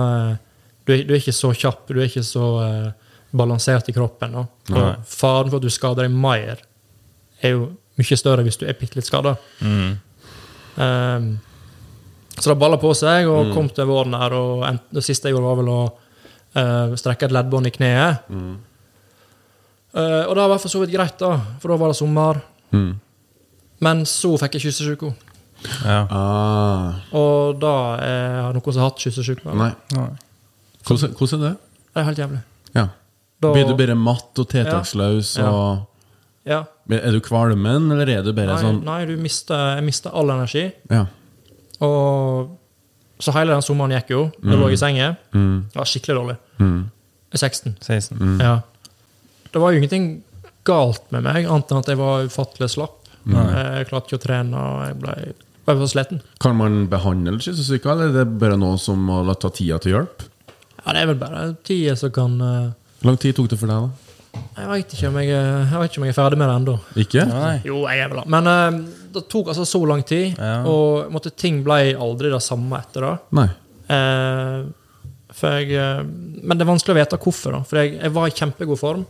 B: du er, du er ikke så kjapp, du er ikke så eh, balansert i kroppen. Da.
D: Nei.
B: Og faren for at du skader deg mer, er jo mye større hvis du er bitte litt skada.
D: Mm.
B: Ehm, så det balla på seg,
C: Mm.
B: og kom til våren her. Og en, det siste jeg gjorde, var vel å eh, strekke et leddbånd i kneet.
C: Mm.
B: Eh, og det var for så vidt greit, da, for da var det sommer.
C: Mm.
B: Men så fikk jeg kyssesyke.
D: ja.
C: Ah,
B: Og da eh, har noen som har hatt kyssesyke.
C: nei. Hvordan, hvordan er det?
B: Det er helt jævlig.
C: Ja.
B: Da-
C: Blir du bare matt og tiltaksløs?
B: Ja.
C: Og...
B: Ja.
C: Men Er du kvalmen, eller er du bare
B: Nei,
C: sånn
B: nei, du mister, jeg mister all energi.
C: Ja.
B: Og så hele den sommeren gikk jo.
C: Mm.
B: Jeg lå i senga. Det var skikkelig dårlig. Jeg er 16.
D: 16.
C: Mm.
B: Ja. Det var jo ingenting galt med meg, annet enn at jeg var ufattelig slapp. Eh, Jeg klarte ikke å trene, og jeg ble, ble så sliten.
C: Kan man behandle kyssesyke, eller er det bare noe som må la- ta tida til hjelp?
B: Ja, det er vel bare tida som kan eh,
C: Hvor lang tid tok det for deg, da?
B: Jeg veit ikke, om jeg er- jeg vet ikke om jeg er ferdig med det ennå.
C: Ikke?
D: Nei.
B: Jo, jeg er vel det. Men eh, det tok altså så lang tid,
D: Ja.
B: og måtte, ting ble aldri det samme etter det.
C: Nei.
B: Eh, for jeg, eh, men det er vanskelig å vite hvorfor. da. For jeg, jeg var i kjempegod form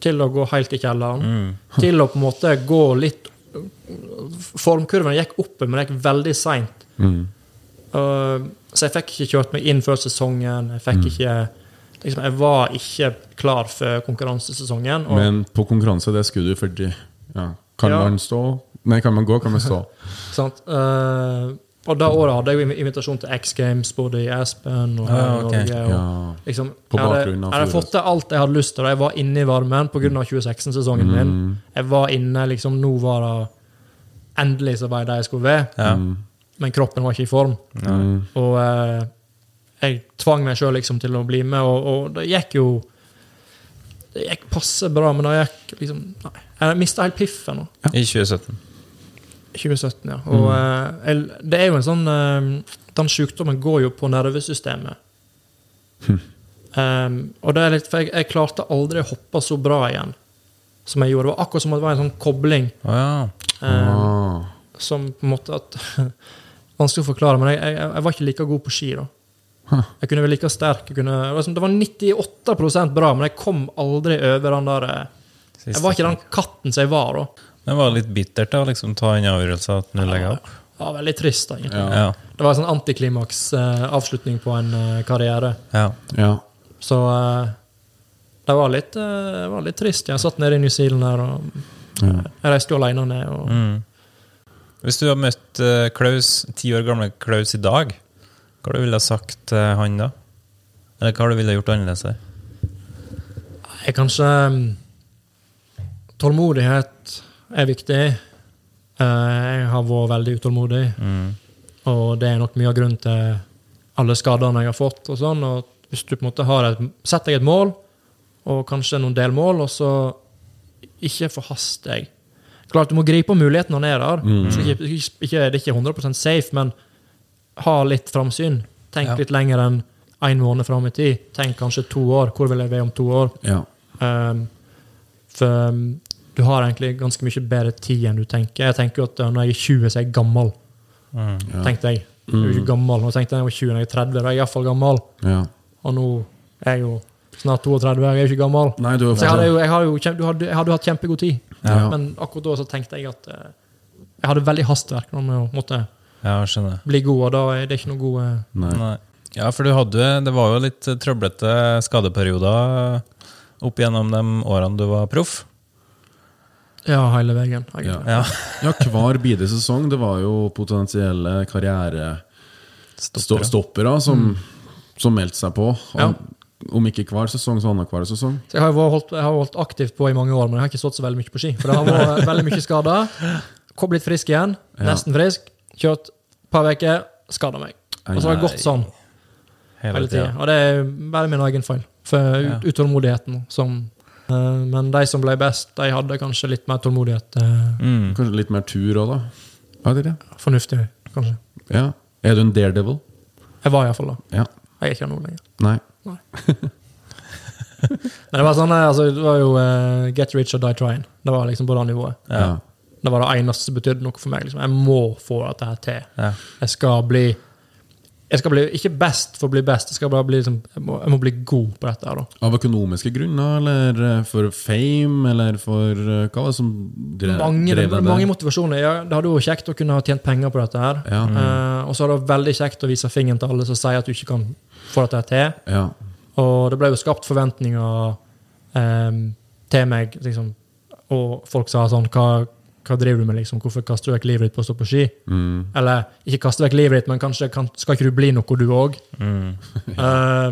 B: til å gå helt i kjelleren. Til å på en måte gå litt Formkurven gikk oppe, men det gikk veldig seint.
C: Mm.
B: så jeg fikk ikke kjørt meg inn før sesongen. Jeg fikk ikke liksom, Jeg var ikke klar for konkurransesesongen. Og
C: Men på konkurranse, det skulle du fordi ja. Kan
B: Ja.
C: man stå? Nei, kan man gå, kan man stå?
B: Sant? Eh, og da året hadde jeg jo invitasjon til X Games både i Aspen og her
D: Ah, ok.
B: i Norge. Og,
C: Ja.
B: liksom,
C: På
B: jeg hadde-
C: bakgrunn av
B: Jeg hadde
C: fjoråret.
B: fått til alt jeg hadde lyst til. og Jeg var inne i varmen pga. 2016-sesongen
C: Mm.
B: min. Jeg var inne, liksom, nå var det Endelig så var jeg der jeg skulle være,
D: Ja.
B: men kroppen var ikke i form.
C: Mm.
B: Og eh, jeg tvang meg sjøl liksom, til å bli med, og, og det gikk jo Det gikk passe bra, men det gikk liksom Nei. Jeg mista helt piffen. nå.
D: I 2017.
B: 2017, ja. Og eh, el- det er jo en sånn eh, Den sykdommen går jo på nervesystemet. Em, og det er litt For jeg, jeg klarte aldri å hoppe så bra igjen som jeg gjorde. Det var akkurat som at det var en sånn kobling
D: Å ja.
B: eh,
C: Ah.
B: som på en måte at Vanskelig å forklare, men jeg, jeg, jeg var ikke like god på ski da. Jeg kunne være like sterk. Jeg kunne, det var liksom- det var 98 bra, men jeg kom aldri over den der eh, Jeg var ikke den katten som jeg var da.
D: Det var litt bittert å liksom ta en avgjørelse at nå legger jeg opp.
B: Ja, veldig trist, da, egentlig.
D: Ja.
B: Det var en sånn antiklimaks-avslutning på en eh, karriere.
D: ja.
C: Ja.
B: Så eh, det var litt, eh, det var litt trist. Jeg satt nede i New Zealand her, og jeg reiste jo alene ned. Og,
D: Mm. Hvis du hadde møtt eh, Klaus, ti år gamle Klaus i dag, hva du ville du sagt til han da? Eller hva du ville du gjort annerledes der?
B: Jeg kanskje mm, Tålmodighet er viktig. Eh, Jeg har vært veldig utålmodig, og det er nok mye av grunnen til alle skadene jeg har fått. og sånn, og Hvis du på en måte har et, setter deg et mål, og kanskje noen delmål, og så ikke forhast deg. Klart, Du må gripe muligheten når den er der. Du skal Ikke, ikke, ikke, det er ikke 100 safe, men ha litt framsyn. Tenk
D: Ja.
B: litt lenger enn én måned fram i tid. Tenk kanskje to år. Hvor vil jeg være om to år?
C: Ja.
B: Um, for um, du har egentlig ganske mye bedre tid enn du tenker. Jeg tenker jo at uh, når jeg er 20, så er jeg gammel,
D: Mm.
B: tenkte jeg.
C: Mm.
B: Jeg er jo ikke gammel. Nå tenkte jeg når jeg var 20, når jeg er 30, da er jeg iallfall gammel.
C: ja.
B: Og nå er jeg jo snart 32, jeg er jo ikke gammel.
C: Nei, du er
B: Så jeg hadde jo, jeg har jo, kjem- du hadde, jeg hadde jo hatt kjempegod tid.
C: Ja.
B: Men akkurat da så tenkte jeg at eh, jeg hadde veldig hastverk nå med å måtte
D: Ja, jeg skjønner.
B: bli god, og da er det ikke noe god eh,
C: Nei.
D: Nei. Ja, for du hadde, det var jo litt eh, trøblete skadeperioder eh, opp gjennom de årene du var proff.
B: Ja, hele veien.
C: Ja.
B: egentlig.
D: Ja.
C: ja, hver bidige sesong. Det var jo potensielle karrierestoppere
D: Stopper.
C: som, som meldte seg på. Og,
B: Mm. Ja.
C: Om ikke hver sesong, så annenhver sesong.
B: Så jeg har jo holdt, jeg har holdt aktivt på i mange år, men jeg har ikke stått så veldig mye på ski. For det har vært veldig mye skader. Kom blitt frisk igjen. Nesten frisk. Kjørt et par uker. Skada meg. Og så har det gått sånn hele tiden. Og det er bare min egen feil. For ut- utålmodigheten som eh, Men de som ble best, de hadde kanskje litt mer tålmodighet. eh,
D: Mm.
C: Kanskje litt mer tur òg, da. Hva er det?
B: Fornuftig, kanskje.
C: Ja. Er du en daredevil?
B: Jeg var iallfall da.
C: Ja.
B: Jeg er ikke det nå lenger.
C: Nei.
B: Men det var sånn, eh, altså, det var jo eh, Get rich or die trying. Det var liksom på det nivået.
D: Ja.
B: Det var det eneste som betydde noe for meg. Liksom. Jeg må få dette her til.
D: Ja.
B: Jeg skal bli jeg skal bli, Ikke best for å bli best, jeg, skal bare bli, liksom, jeg, må, jeg må bli god på dette. her da.
C: Av økonomiske grunner, eller eh, for fame, eller for eh, Hva var det som drev,
B: Mange,
C: drev deg
B: mange
C: der?
B: motivasjoner. Ja, det hadde jo vært kjekt å kunne ha tjent penger på dette. her.
C: Ja. Mm.
B: Eh, og så er det veldig kjekt å vise fingeren til alle som sier at du ikke kan få dette her til.
C: Ja.
B: Og det ble jo skapt forventninger ehm, til meg, liksom. Og folk sa sånn Hva, hva driver du med, liksom? Hvorfor kaster du vekk livet ditt på å stå på ski?
C: Mm.
B: Eller ikke kaste vekk livet ditt, men kanskje kan, skal ikke du bli noe, du òg?
D: Mm.
B: Eh,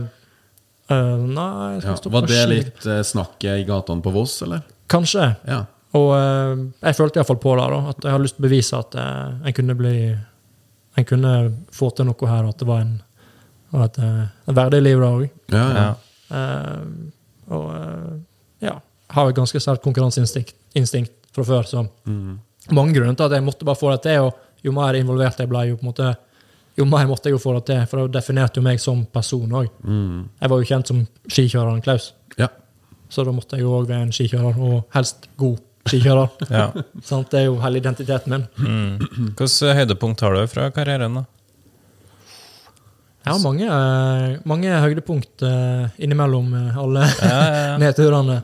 B: nei, jeg skal
C: Ja.
B: stå
C: Var
B: på
C: det
B: ski.
C: litt eh, snakket i gatene på Voss, eller?
B: Kanskje.
C: Ja.
B: Og eh, jeg følte iallfall på det, da, at jeg hadde lyst til å bevise at eh, en kunne bli En kunne få til noe her, og at det var en, og at, eh, en verdig liv, da òg.
C: Ja, ja.
D: Ja.
B: Eh, og eh, ja, har et ganske sterkt konkurranseinstinkt instinkt fra før. Så
C: Mm.
B: mange grunner til at jeg måtte bare få det til, og jo mer involvert jeg ble, jo, på en måte, jo mer måtte jeg jo få det til. For det definerte jo meg som person òg.
C: Mm.
B: Jeg var jo kjent som skikjøreren Klaus,
C: ja.
B: så da måtte jeg jo òg være en skikjører, og helst god skikjører.
D: ja. Mm.
B: Sant? Det er jo hele identiteten min.
D: Hvilket høydepunkt har du fra karrieren, da?
B: Jeg har mange, eh, mange høydepunkt eh, innimellom eh, alle
D: ja, ja.
B: nedturene.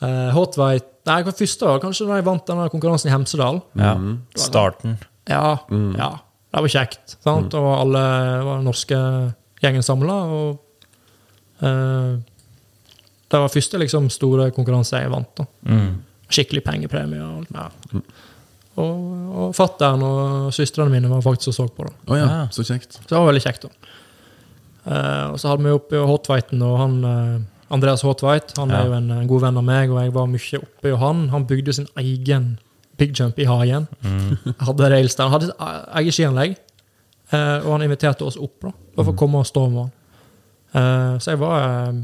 B: Eh, Hot White Nei, hva første var kanskje da jeg vant denne konkurransen i Hemsedal.
D: Ja. Mm. Starten.
B: Ja, ja. Det var kjekt. Sant? Og alle var den norske gjengen samla. Og eh, det var første liksom, store konkurranse jeg vant. Da. Skikkelig pengepremie. Og, alt. ja. og, og fattern og søstrene mine var faktisk og så på. Da.
C: Å ja.
D: Ja.
C: Så kjekt.
B: Så det var veldig kjekt. da. Eh, og så hadde vi oppe Hotveiten, og han, eh, Andreas Hotveit han
D: Ja.
B: er jo en, en god venn av meg, og jeg var mye oppe hos han. Han bygde sin egen big jump i hagen. Hadde rails der. Han hadde et eget skianlegg, eh, og han inviterte oss opp da, bare for å komme og stå med han. Eh, så jeg var eh,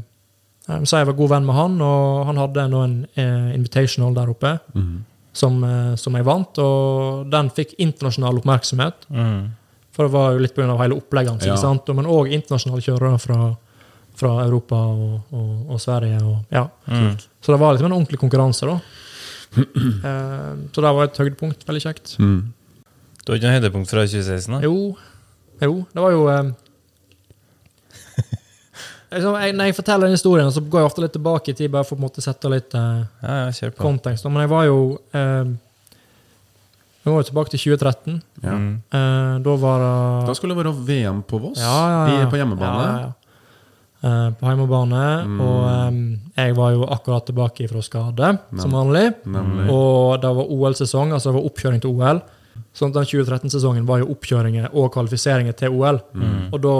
B: jeg, så jeg var god venn med han, og han hadde nå en eh, invitational der oppe.
C: Mm.
B: Som, eh, som jeg vant, og den fikk internasjonal oppmerksomhet.
D: Mm.
B: For det var jo litt pga. hele opplegget hans.
C: Ja.
B: ikke sant? Men òg internasjonale kjørere fra, fra Europa og, og, og Sverige. Og, ja.
C: Mm.
B: Så det var liksom en ordentlig konkurranse, da. Eh, så det var et høydepunkt. Veldig kjekt.
C: Mm.
D: Du har ikke noe høydepunkt fra 2016? da?
B: Jo, jo, det var jo eh, liksom, jeg, Når jeg forteller den historien, så går jeg ofte litt tilbake i tid, bare for å på en måte sette litt eh,
D: Ja, ja, kjør på.
B: kontekst. da. Men jeg var jo eh, Nå er vi tilbake til 2013.
C: Ja.
D: Mm.
B: Eh, da var det
C: Da skulle det være VM på Voss,
B: Ja, ja, ja.
C: i- på hjemmebane. Mm.
B: Ja, ja, ja. Eh, på hjemmebane. Og eh, jeg var jo akkurat tilbake fra skade, som vanlig.
C: Nemlig.
B: Og det var OL-sesong, altså det var oppkjøring til OL. Sånn at den 2013-sesongen var jo oppkjøringer og kvalifiseringer til OL.
C: Mm.
D: Mm.
B: Og da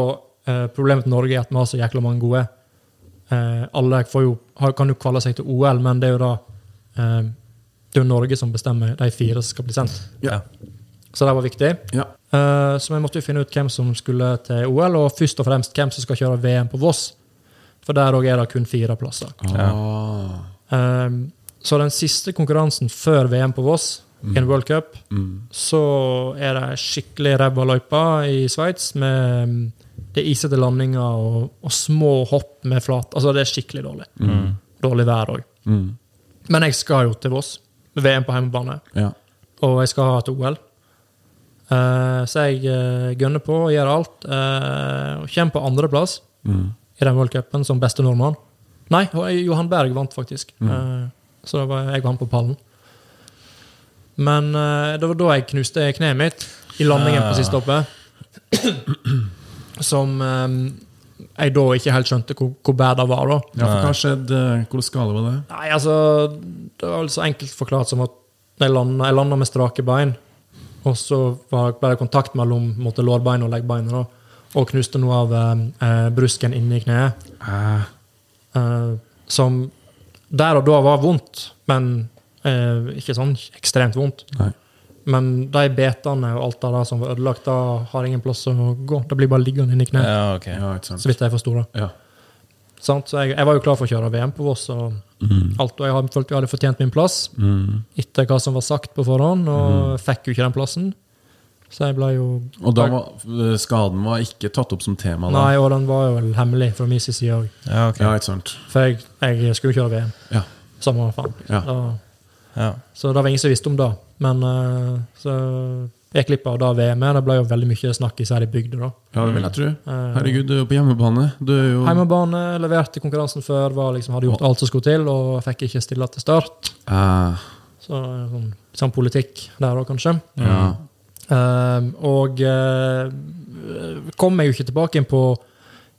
B: eh, Problemet til Norge er at vi har så jækla mange gode. Eh, alle får jo, har, kan jo kvalle seg til OL, men det er jo da eh, det er jo Norge som bestemmer de fire som skal bli sendt.
C: Ja.
B: Så det var viktig.
C: Ja.
B: Eh, Så vi måtte jo finne ut hvem som skulle til OL, og først og fremst hvem som skal kjøre VM på Voss. For der òg er det kun fire plasser.
C: Ah.
B: Eh, Så den siste konkurransen før VM på Voss, i en World Cup,
C: Mm.
B: så er det skikkelig ræva løype i Sveits. med mm, Det er isete landinger og, og små hopp med flat Altså, det er skikkelig dårlig. Dårlig vær òg.
C: Mm.
B: Men jeg skal jo til Voss. VM på hjemmebane
C: ja.
B: og jeg skal ha et OL. Eh, så jeg eh, gønner på og gjør alt. eh, og kommer på andreplass i den worldcupen som beste nordmann. Nei, Johan Berg vant faktisk. Eh, så da var jeg og han på pallen. Men eh, det var da jeg knuste kneet mitt i landingen på siste hoppet. Som eh, jeg da ikke helt skjønte hvor, hvor bad det var. da.
C: ja, for hva skjedde? eh, Hvordan skala var det?
B: Nei, altså Det var vel så enkelt forklart som at jeg landa, jeg landa med strake bein, og så var, ble det kontakt mellom måtte lårbeinet og leggbeinet, da, og knuste noe av eh, eh, brusken inni kneet. Eh, som der og da var vondt, men eh, ikke sånn ekstremt vondt.
C: Nei.
B: Men de betene og alt det der som var ødelagt, da har ingen plass å gå. Det blir bare liggende inni kneet,
D: Mm. Ja, ok.
C: Ja, ikke sant.
B: så vidt jeg forsto det.
C: Ja.
B: Sant? Så jeg, jeg var jo klar for å kjøre VM på Voss, og alt, og jeg hadde- følte jeg hadde fortjent min plass etter hva som var sagt på forhånd,
C: Mhm.
B: og fikk jo ikke den plassen. Så jeg ble jo
C: Og da var, eh, skaden var ikke tatt opp som tema? da?
B: Nei, og den var jo vel hemmelig fra min side òg,
D: Ja, ok.
C: Ja, ikke sant.
B: for jeg, jeg skulle jo kjøre VM.
C: Ja.
B: Samme faen.
C: Ja.
B: Da-
D: Ja.
B: Så det var ingen som visste om det. Men eh, så jeg glipp av det VM-et. Det ble jo veldig mye snakk i særlig bygder, da.
C: ja, det vil jeg tro.
B: Eh,
C: Herregud, du er jo på hjemmebane. Du er jo
B: Heimebane leverte konkurransen før, var liksom, hadde gjort alt som skulle til, og fikk ikke stille til start.
C: Eh,
B: Så eh, sånn, sånn politikk der òg, kanskje.
C: ja.
B: Eh, og eh, kom meg jo ikke tilbake inn på,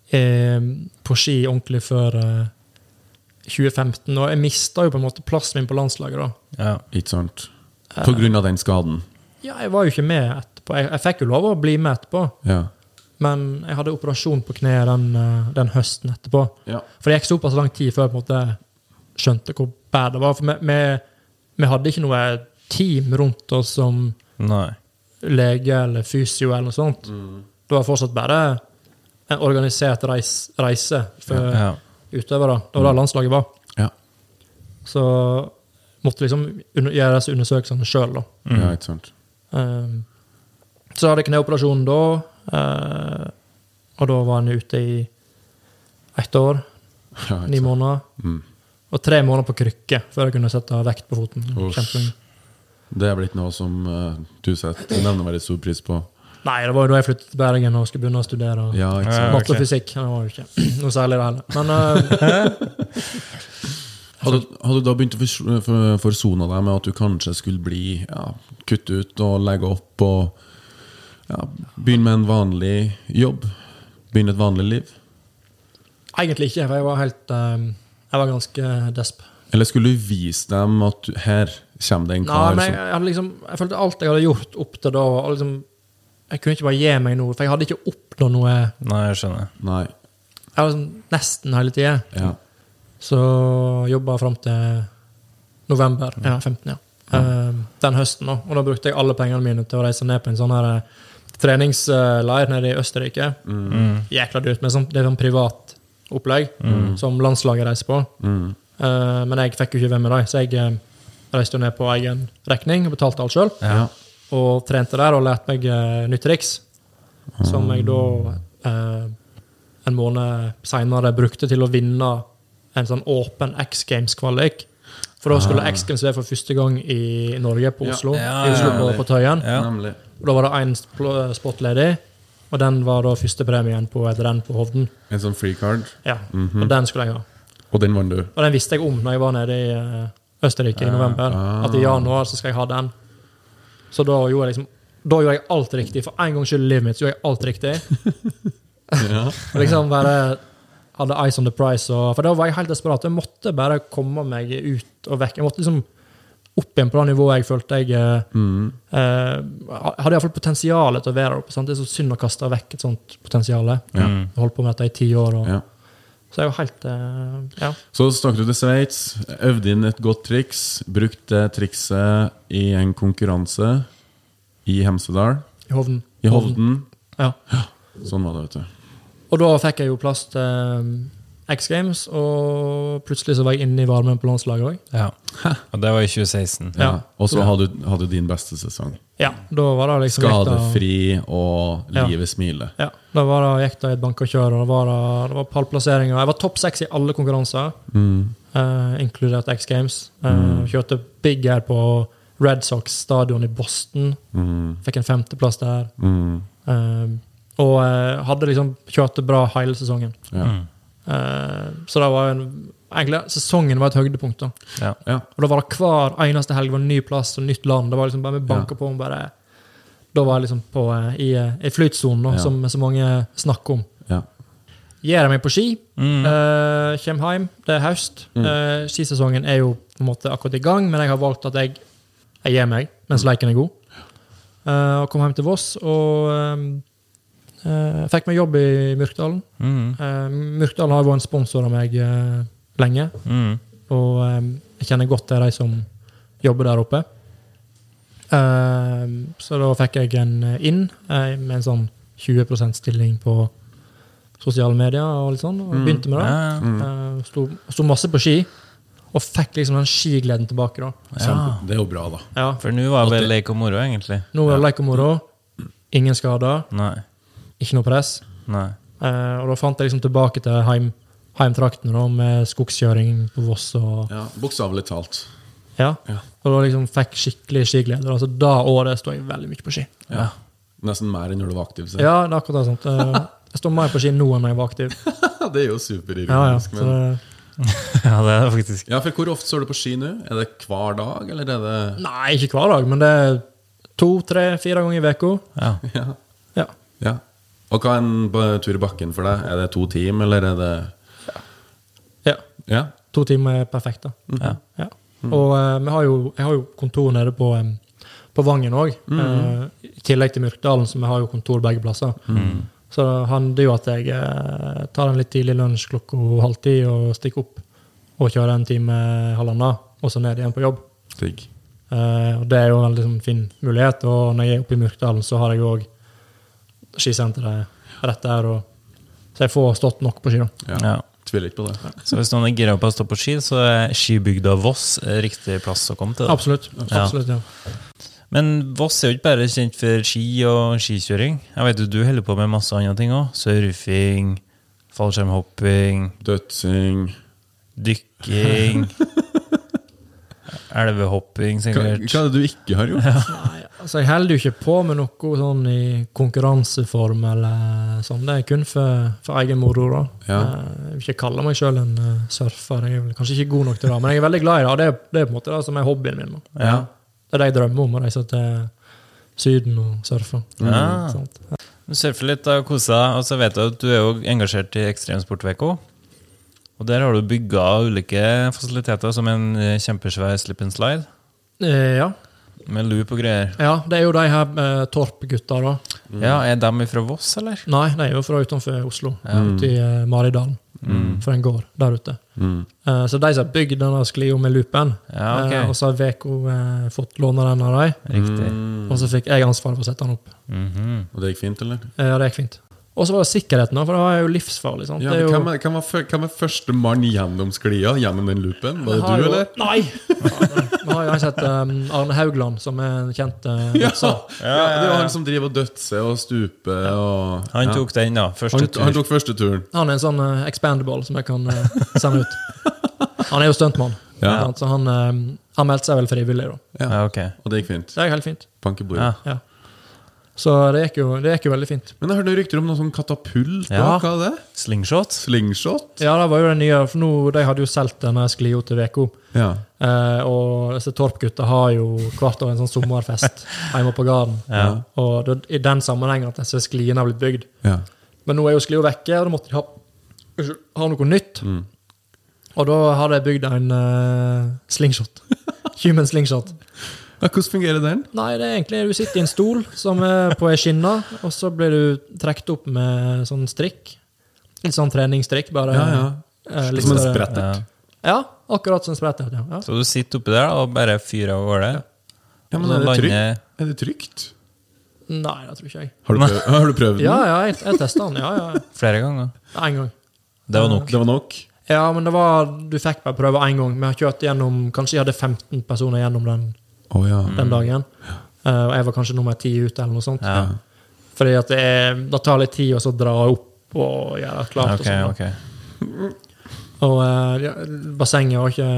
B: eh, på ski ordentlig før eh, 2015. Og jeg mista jo på en måte plassen min på landslaget da.
D: Ja.
C: Ikke sant. På grunn av den skaden.
B: Ja, jeg var jo ikke med etterpå. Jeg, jeg fikk jo lov å bli med etterpå,
C: Ja.
B: men jeg hadde operasjon på kneet den, eh, den høsten etterpå.
C: Ja.
B: For det gikk såpass lang tid før jeg på en måte skjønte hvor bad det var. For vi, vi, vi hadde ikke noe team rundt oss som
D: Nei.
B: lege eller fysio eller noe sånt. Det var fortsatt bare en organisert reis, reise for
D: Ja.
B: utøvere. Det
C: Mm.
B: var det landslaget var.
C: Ja.
B: Så måtte liksom un- gjøre disse undersøkelsene sjøl, da.
C: ja, ikke sant.
B: Ehm, så hadde jeg kneoperasjonen da, eh, og da var han ute i ett år,
C: Ja,
B: ni
C: ikke sant.
B: måneder.
C: Mm.
B: Og tre måneder på krykke før jeg kunne sette vekt på foten.
C: Uff.
B: Kjempelenge.
C: Det er blitt noe som eh, du setter nevneverdig stor pris på.
B: Nei, det var jo da jeg flyttet til Bergen og skulle begynne å studere.
C: Ja, ikke sant.
D: Ja,
B: Matte
D: ok.
B: og fysikk det var jo ikke noe særlig, det heller. Men eh,
C: Hadde, hadde du da begynt å fors- for- forsone deg med at du kanskje skulle bli ja, kutt ut og legge opp og ja, begynne med en vanlig jobb? Begynne et vanlig liv?
B: egentlig ikke, for jeg var helt eh, Jeg var ganske desp.
C: Eller skulle du vise dem at du, her kommer det en
B: Nei,
C: kar
B: men jeg, jeg hadde liksom Jeg følte alt jeg hadde gjort opp til da og liksom, Jeg kunne ikke bare gi meg noe, for jeg hadde ikke oppnådd noe Jeg
D: Nei, jeg skjønner.
C: som Nei.
B: var liksom nesten hele tida.
C: Ja.
B: Så jobba fram til november. Ja, 15, ja. Eh, den høsten, da. Og da brukte jeg alle pengene mine til å reise ned på en sånn her eh, treningsleir nede i Østerrike. Jækla dyrt, men sånn, det er sånn privat opplegg som landslaget reiser på.
C: Mm.
B: Eh, men jeg fikk jo ikke være med dem, så jeg eh, reiste jo ned på egen regning og betalte alt sjøl.
D: Ja.
B: Og trente der og lærte meg eh, nytt triks, som jeg da eh, en måned seinere brukte til å vinne en sånn åpen X Games-kvalik. For da skulle X Games være for første gang i Norge, på
C: Ja.
B: Oslo.
D: Ja,
B: i Oslo
D: ja,
B: på,
D: ja.
B: på Tøyen.
D: Ja.
C: Nemlig.
B: Og da var det én spl- spot ledig, og den var da førstepremien på et renn på Hovden.
C: En sånn free card. Mhm.
B: Ja,
D: Mm.
B: Og den skulle jeg ha.
C: Og den vant du.
B: Og den visste jeg om når jeg var nede i eh, Østerrike i november. At i januar så skal jeg ha den. Så da gjorde jeg liksom da gjorde jeg alt riktig. For en gangs skyld i livet mitt så gjorde jeg alt riktig.
C: Ja.
B: Og liksom bare hadde eyes on the prize. Og, for da var jeg helt desperat. Jeg måtte bare komme meg ut og vekk. Jeg måtte liksom opp igjen på det nivået jeg følte jeg eh,
C: Mm.
B: eh, hadde iallfall potensial til å være oppe. Sant? Det er så synd å kaste vekk et sånt potensial. Jeg
C: Ja.
D: Mm.
B: holdt på med dette i ti år. Og,
C: Ja.
B: Så jeg var helt eh, Ja.
C: Så stakk du til Sveits, øvde inn et godt triks, brukte trikset i en konkurranse i Hemsedal,
B: I Hovden.
C: i Hovden.
B: Ja.
C: Sånn var det, vet du.
B: Og da fikk jeg jo plass til eh, X Games, og plutselig så var jeg inne i varmen på landslaget òg.
D: Ja. Og det var i 2016.
B: Ja.
C: Og så hadde, du- hadde du din beste sesong.
B: Ja, da var det liksom gikk det-
C: Skadefri og
B: Ja.
C: livet smiler.
B: Ja, da var det, gikk det i et bank og kjør, og det var, det- det var pallplasseringer. Jeg var topp seks i alle konkurranser, eh, inkludert X Games. Eh, Kjørte big air på Red Sox stadion i Boston.
C: Mm,
B: Fikk en femteplass der. Eh, og eh, hadde liksom kjørt det bra hele sesongen.
C: Ja.
B: Eh, så det var en, egentlig sesongen var et høydepunkt. da.
D: Ja.
C: Ja.
B: Og da var det hver eneste helg var det en ny plass og nytt land. Det var liksom bare Vi banka på om bare Da var jeg liksom på, eh, i, eh, i flytsonen, da,
C: Ja.
B: som så mange snakker om.
C: Ja.
B: Gir jeg meg på ski,
D: Mm.
B: eh, kommer hjem, det er høst. Eh, skisesongen er jo på en måte akkurat i gang, men jeg har valgt at jeg, jeg gir meg mens
D: Mm.
B: leken er god. Eh, og kom hjem til Voss og eh, eh, fikk meg jobb i Myrkdalen.
D: Mm.
B: Eh, Myrkdalen har jo vært en sponsor av meg eh, lenge.
D: Mm.
B: Og eh, jeg kjenner godt til de som jobber der oppe. Eh, så da fikk jeg en eh, inn eh, med en sånn 20 %-stilling på sosiale medier og litt sånn, og begynte med det.
D: Mm. Ja, ja.
B: Eh, sto, sto masse på ski, og fikk liksom den skigleden tilbake. da.
C: Kjempe. Det er jo bra, da.
B: Ja,
D: For nå var det bare lek og moro, egentlig.
B: Nå er det lek og moro. Ingen skader,
D: Nei.
B: ikke noe press.
D: Nei.
B: Eh, og da fant jeg liksom tilbake til heim, heimtraktene da, med skogskjøring på Voss og
C: Ja, Bokstavelig talt.
B: Ja.
C: Ja.
B: Og da liksom fikk skikkelig skiglede. Altså, da året står jeg veldig mye på ski.
C: Ja. Nesten mer enn når du var aktiv. Så.
B: Ja, det er akkurat det. sant. Eh, Jeg står mer på ski nå enn jeg var aktiv.
C: Det er jo
B: Ja, ja.
C: superironisk.
B: Så
C: men...
B: det,
D: Ja, det er det faktisk.
C: ja, for hvor ofte står du på ski nå? Er det hver dag, eller er det
B: nei, ikke hver dag, men det er to, tre, fire ganger i uka.
D: Ja.
C: Ja.
B: Ja.
C: ja. Og hva er en ba- tur i bakken for deg? Er det to team, eller er det
B: ja.
C: Ja.
B: To timer er perfekt, da.
D: Ja.
B: Ja. Og eh, vi har jo, jeg har jo kontor nede på, em, på Vangen òg, i tillegg til Myrkdalen, så vi har jo kontor begge plasser. Så det handler jo at jeg eh, tar en litt tidlig lunsj klokka halv ti og stikker opp og kjører en time, halvannen, og så ned igjen på jobb.
C: Digg.
B: Eh, og det er jo en veldig sånn fin mulighet. Og når jeg er oppe i Myrkdalen, så har jeg òg skisenteret rett der. Og, så jeg får stått nok på ski, da.
C: Ja.
D: Ja.
C: Tviler ikke på det.
D: Så hvis noen er gira på å stå på ski, så er skibygda Voss riktig plass å komme til. da.
B: Absolutt. absolutt ja.
D: Men Voss er jo ikke bare kjent for ski og skikjøring. Jeg vet jo du holder på med masse andre ting òg. Surfing, fallskjermhopping,
C: Dødsing
D: dykking Elvehopping,
C: hva, hva
D: sikkert.
C: er det du ikke har gjort?
B: Nei, altså Jeg holder jo ikke på med noe sånn i konkurranseform eller sånn. Det er kun for, for egen moro, da.
C: Ja.
B: Eh, Jeg vil ikke kalle meg sjøl en eh, surfer. Jeg er vel kanskje ikke god nok til det, men jeg er veldig glad i det. og Det er, det er på en måte det som er hobbyen min. Da.
D: Ja.
B: Det er det jeg drømmer om, å reise til Syden og surfe.
D: Ja.
B: Sant?
D: Du surfer litt og koser deg, og så vet jeg at du er jo engasjert i Ekstremsportveko. Og der har du bygga ulike fasiliteter, som en eh, kjempesvær slip and slide
B: Eh, ja.
D: med loop og greier.
B: ja, det er jo de her eh, Torp-gutta, da.
C: Mm.
D: Ja, Er dem ifra Voss, eller?
B: Nei, de er jo fra utenfor Oslo, ute i eh, Maridalen.
C: Mm.
B: For en gård der ute. Eh, så de som har bygd denne sklia med loopen,
D: Ja, ok.
B: eh, og så har VK eh, fått låne den av dem,
D: Riktig.
C: Mm,
B: og så fikk jeg ansvaret for å sette den opp.
D: Mhm.
C: Og det gikk fint, eller?
B: Eh, Ja, det gikk fint. Og så var det sikkerheten, da, for det er jo livsfarlig. sant?
C: Ja, men
B: det er jo,
C: hvem, er, hvem, var, fø- hvem er første mann gjennom sklia? Gjennom den loopen? Var
B: Vi
C: det
B: har
C: du,
B: jo-
C: eller?
B: Nei! Vi har jo en sett um, Arne Haugland, som er en kjent uh,
C: Ja.
B: sa.
C: ja, det var han som driver og dødser og stuper og
D: Han
C: ja.
D: tok den, da. Første
C: han, han
D: tur.
C: tok første turen.
B: Han er en sånn eh, expandable som jeg kan eh, sende ut. Han er jo stuntmann,
C: Ja.
B: sant, så han, eh, han meldte seg vel frivillig, da.
D: Ja, ok.
C: Og det gikk fint.
B: Det er helt fint.
C: Bank i bordet.
D: Ja.
B: Ja. Så det gikk jo, det gikk jo veldig fint.
C: Men jeg hørte noen rykter om noe sånn katapult.
D: Ja.
C: da. Hva er det?
D: Slingshot.
C: Slingshot?
B: Ja, det var jo det nye, for nå, de hadde jo solgt denne Sklio til VK.
C: Ja.
B: Eh, og disse Torp-gutta har jo hvert år en sånn sommerfest hjemme på gården.
D: Ja.
B: Og det er i den sammenhengen at disse skliene har blitt bygd.
C: ja.
B: Men nå er jo sklia vekke, og da måtte de ha, unnskyld, ha noe nytt.
C: Mm.
B: Og da har de bygd en eh, slingshot. Human slingshot.
C: ja hvordan fungerer den?
B: Nei, det er egentlig du sitter i en stol som er på ei skinne, og så blir du trukket opp med sånn strikk. Litt sånn treningsstrikk, bare.
C: Ja, ja.
B: eh, litt
C: Som en
B: større-
C: sprettert.
B: Ja, akkurat som en sprettert. Ja. Ja.
D: Så du sitter oppi der da, og bare fyrer av gårde.
C: Ja, men er
D: Og
C: det,
D: lander-
C: trygt? er det trygt?
B: Nei, det tror ikke jeg.
C: Har du prøvd, har du prøvd den?
B: Ja, ja, jeg, jeg testa den. Ja, ja.
D: Flere ganger.
B: Én gang.
D: Det var nok.
C: Det var nok?
B: Ja, men det var, du fikk bare prøve én gang. Vi har kjørt gjennom, Kanskje jeg hadde 15 personer gjennom den,
C: Å ja.
B: den dagen. Eh, Og jeg var kanskje nummer ti ute, eller noe sånt.
D: Ja.
B: Fordi at det, er, det tar litt tid å så dra opp og gjøre det klart.
D: Ok,
B: og sånn.
D: ok.
B: da. Og eh, ja, bassenget var ikke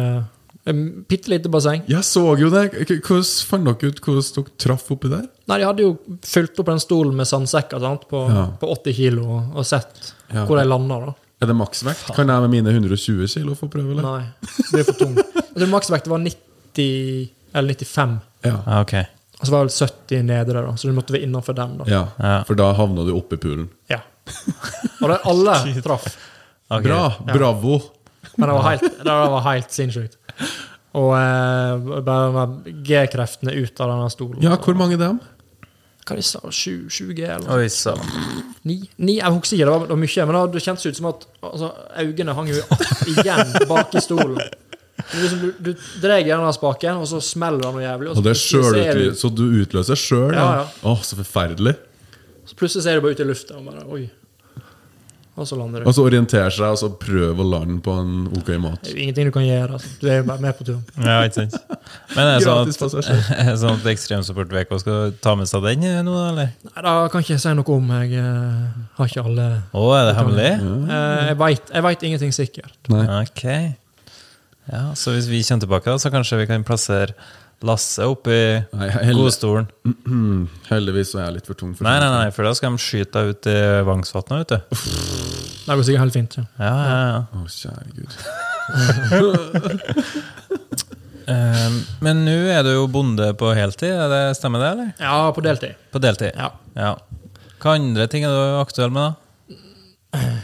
B: Bitte lite basseng.
C: Jeg så jo det. K- Hvordan fant dere ut hvordan dere traff oppi der?
B: Nei, de hadde jo fylt opp den stolen med sandsekker sant? På,
C: Ja.
B: på 80 kilo og, og sett
C: Ja.
B: hvor de landa, da.
C: Er det maksvekt? Kan jeg med mine 120 kilo få prøve, eller?
B: Nei, det er for tung. Jeg tror maksvekt var 90 eller 95.
C: Ja.
D: Ja, ok.
B: Og så var det vel 70 nedre, da, så du måtte være innenfor den. da.
C: ja.
D: Ja.
C: For da havna du oppi poolen.
B: Ja. Og det alle traff.
D: Ok.
C: Bra! Bravo!
B: Men det var helt, det var helt sinnssykt. Og eh, bare med G-kreftene ut av denne stolen.
C: Ja, hvor mange dem?
B: Hva de sa de? 7G, eller
D: Oi sann.
B: 9? Jeg husker ikke, det var, det var mye. Men det kjentes ut som at altså, øynene hang jo att igjen bak i stolen. Det er liksom, du du drar i denne spaken, og så smeller den noe jævlig.
C: Og det er selv
B: plutselig så er du-
C: utlø- Så du utløser sjøl?
B: Ja, ja.
C: Å, så forferdelig.
B: så plutselig så er du bare ute i lufta og bare Oi. Og så lander du.
C: Og så orientere seg og så prøve å lande på en ok mat.
B: Det er jo ingenting du kan gjøre. Altså. Du er jo bare med på turen.
D: Ja, ikke sant. Men er det sånn
C: Gratis
D: at,
C: passasjer.
D: er det sånn at Ekstremsupport VK skal ta med seg den eh, nå, eller?
B: Nei, da kan ikke jeg si noe om. Jeg eh, har ikke alle
D: Å, er det hemmelig?
B: Eh, Jeg vet- Jeg veit ingenting sikkert.
C: Nei.
D: Ok. Ja, så hvis vi kommer tilbake, da, så kanskje vi kan plassere Lasse oppi
C: Nei, heldig,
D: godstolen?
C: heldigvis så er jeg litt for tung for
D: Nei, nei, nei, for da skal de skyte deg ut i Vangsvatnet, vet du.
B: Det går sikkert helt fint. Ja.
D: Ja, ja, ja.
C: Å, kjære Gud.
D: Eh, Men nå er du jo bonde på heltid, er det, stemmer det, eller?
B: ja, på deltid.
D: På deltid?
B: Ja.
D: Hva andre ting er du aktuell med, da?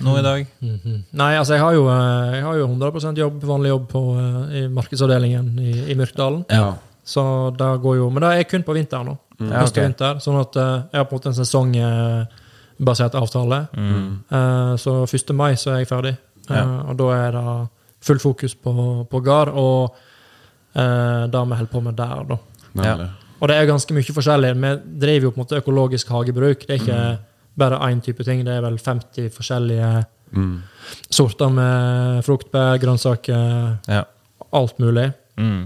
D: Nå i dag?
B: Nei, altså jeg har jo, eh, jeg har jo 100 jobb, vanlig jobb på, eh, i markedsavdelingen i, i Myrkdalen.
C: Ja.
B: Så det går jo Men det er kun på vinteren nå.
D: Ja,
B: Høst og
D: ok.
B: vinter. Sånn at eh, jeg har på en måte en sesongbasert avtale.
D: Mm.
B: Eh, Så 1. mai så er jeg ferdig. Eh,
D: Ja.
B: Og da er det fullt fokus på, på gard og eh, det vi holder på med der, da.
C: Nei,
D: Ja.
C: eller?
B: Og det er ganske mye forskjellig. Vi driver jo på en måte økologisk hagebruk. Det er ikke
D: Mm.
B: bare én type ting, det er vel 50 forskjellige
C: Mm.
B: sorter med fruktbær, grønnsaker,
D: Ja.
B: alt mulig.
D: Mm.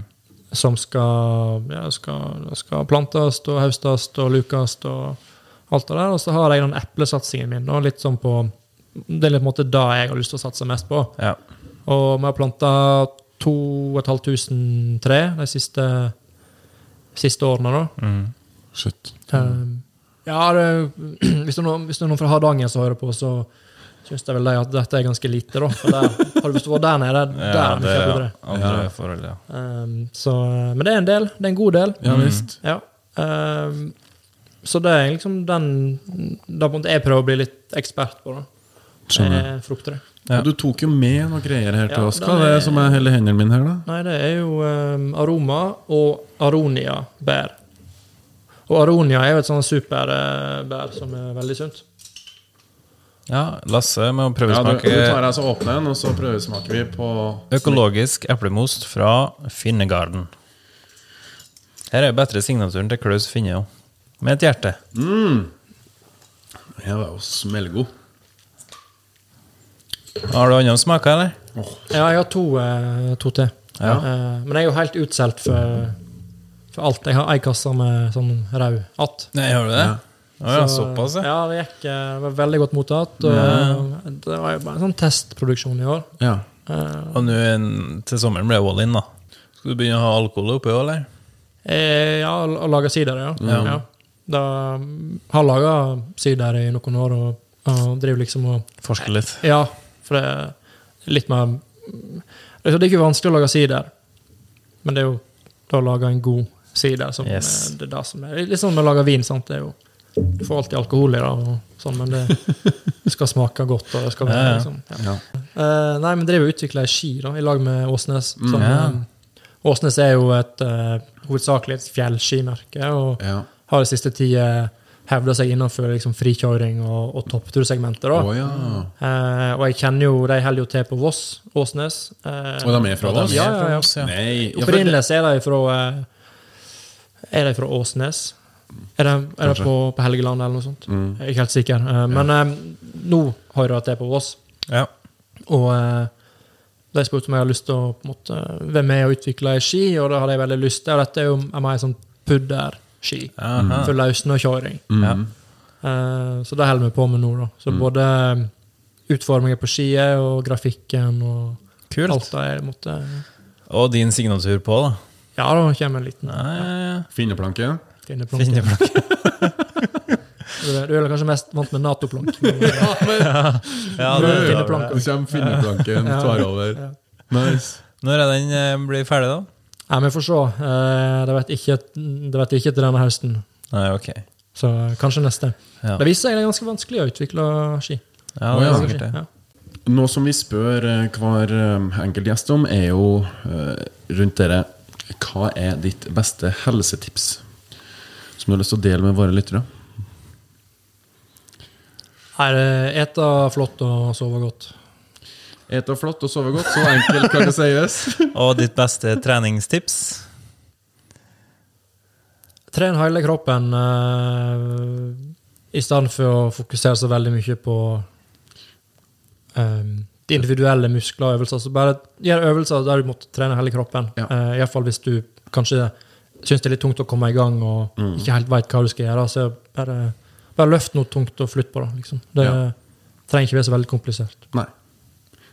B: Som skal, ja, skal, skal plantes og høstes og lukes og alt det der. Og så har jeg den eplesatsingen min. Da, litt sånn på, det er litt på en måte det jeg har lyst til å satse mest på.
D: ja.
B: Og vi har planta 2500 tre de siste, siste årene. da.
D: Mm.
C: Shit.
B: Um, ja, det, hvis, det er noen, hvis det er noen fra Hardanger som hører på, så syns jeg vel de at dette er ganske lite, da. For der, har du lyst til å være der nede, der
D: Ja,
B: er det
D: det
B: mye
D: er
B: bedre.
D: andre
C: Ja.
D: forhold, ja.
B: Um, så, men det er en del. Det er en god del.
D: Mm.
C: Ja visst.
B: Ja. Um, så det er liksom den Da måtte jeg prøve å bli litt ekspert på det. Det
C: Skjønner.
B: er frukter. det.
D: Sånn, Ja.
C: Og Du tok jo med noen greier her til
B: Ja,
C: oss.
B: da
C: Hva er
B: er-
C: det som er hele hendene mine her, da?
B: Nei, det er jo um, aroma og aronia-bær. Og aronia er jo et sånn sånt superbær som er veldig sunt.
D: ja, Lasse må prøve å
C: Ja, du, du tar
D: smake
C: deg så åpner den, og så prøvesmaker vi på
D: økologisk eplemost fra Finnegarden. Her er bedre signaturen til Klaus Finne, jo. Med et hjerte.
C: Den var jo smellgod.
D: Har du andre smaker, eller?
B: Ja, jeg har to, eh, to til.
D: Ja.
B: Eh, men jeg er jo helt utsolgt for, for alt. Jeg har ei kasse med sånn rød att.
D: Nei, har du det? Å ja, såpass, ja.
B: ja. Det gikk eh, det var veldig godt mottatt. Og Det var jo bare en sånn testproduksjon i år.
C: Ja.
B: Eh,
D: Og nå en- til sommeren blir det all in, da. Skal du begynne å ha alkohol oppi òg, eller?
B: eh, ja, og lage sider, ja. ja. Da har laga sy der i noen år og, og driver liksom og
D: Forske litt.
B: Ja, for det er litt mer mm, Det er ikke vanskelig å lage sider, men det er jo da å lage en god sider. Som,
D: Yes.
B: det er det som er, litt sånn med å lage vin. sant? Det er jo, du får alltid alkohol i det, og sånn, men det skal smake godt. og det skal være
D: Ja, ja.
B: liksom... Ja. Eh, nei, men driver og utvikler ei ski da, i lag med Åsnes.
C: Mm,
B: Som,
D: ja.
B: eh, Åsnes er jo et eh, hovedsakelig et fjellskimerke. og
C: Ja.
B: har de siste tida hevda seg innenfor liksom, frikjøring og, og topptursegmentet. da.
C: Å ja.
B: Eh, og jeg kjenner jo, de holder jo til på Voss, Åsnes. Eh,
C: Og de er fra Voss?
B: Ja, ja, ja.
D: Ja.
C: Nei ja, for det-
B: Opprinnelig er de fra eh, Er de fra Åsnes? Er de, er de på, på Helgeland eller noe sånt?
C: Mm.
B: Jeg er ikke helt sikker. Eh, men eh, nå hører jeg at det er på Voss.
D: Ja.
B: Og eh, de spurte om jeg hadde lyst til å på en måte, være med og utvikle ei ski, og det hadde jeg veldig lyst til. Og dette er jo en mer sånn pudderski
D: Aha.
B: for løssnøkjøring.
C: Mm.
D: Ja.
B: Eh, Så det holder vi på med nå. da.
D: Mm.
B: Så både eh, utformingen på skiet og grafikken og alt
D: Kult.
B: det jeg måtte
D: Og din signatur på, da.
B: Ja, da kommer en liten
D: Ja, ja, ja.
C: Finneplanke?
B: finneplank.
D: Finne blant-
B: Du er du er kanskje mest vant med Nato-plank. men- eh,
D: Ja,
B: Nå
D: det,
B: er
D: ja,
B: finneplank.
C: Så kommer finneplanken, tar over.
B: Ja.
C: Nice.
D: Når er den eh, blir ferdig, da?
B: Nei, men vi får se. Eh, Det vet ikke, det vet ikke til denne høsten.
D: Nei, ok.
B: Så kanskje neste.
D: Ja.
B: Det viser seg det er ganske vanskelig å utvikle ski.
D: Ja,
C: Å,
D: det er
C: ja.
D: sikkert det.
B: Ja.
C: Noe som vi spør eh, hver eh, enkelt gjest om, er jo eh, rundt dere Hva er ditt beste helsetips? Som du har lyst til å dele med våre lyttere?
B: Nei, det- Ete eh, flott og sove godt.
C: Ete flott og sove godt, så enkelt kan det sies.
D: Og ditt beste treningstips?
B: Tren hele kroppen eh, i stedet for å fokusere så veldig mye på eh, de individuelle muskler og øvelser. Så bare gjør øvelser der du måtte trene hele kroppen.
C: Ja.
B: Eh, i hvert fall hvis du kanskje syns det er litt tungt å komme i gang og
C: Mm.
B: ikke helt veit hva du skal gjøre. Så bare, bare løft noe tungt og flytt på det. Liksom. Det
C: Ja.
B: trenger ikke være så veldig komplisert.
C: Nei.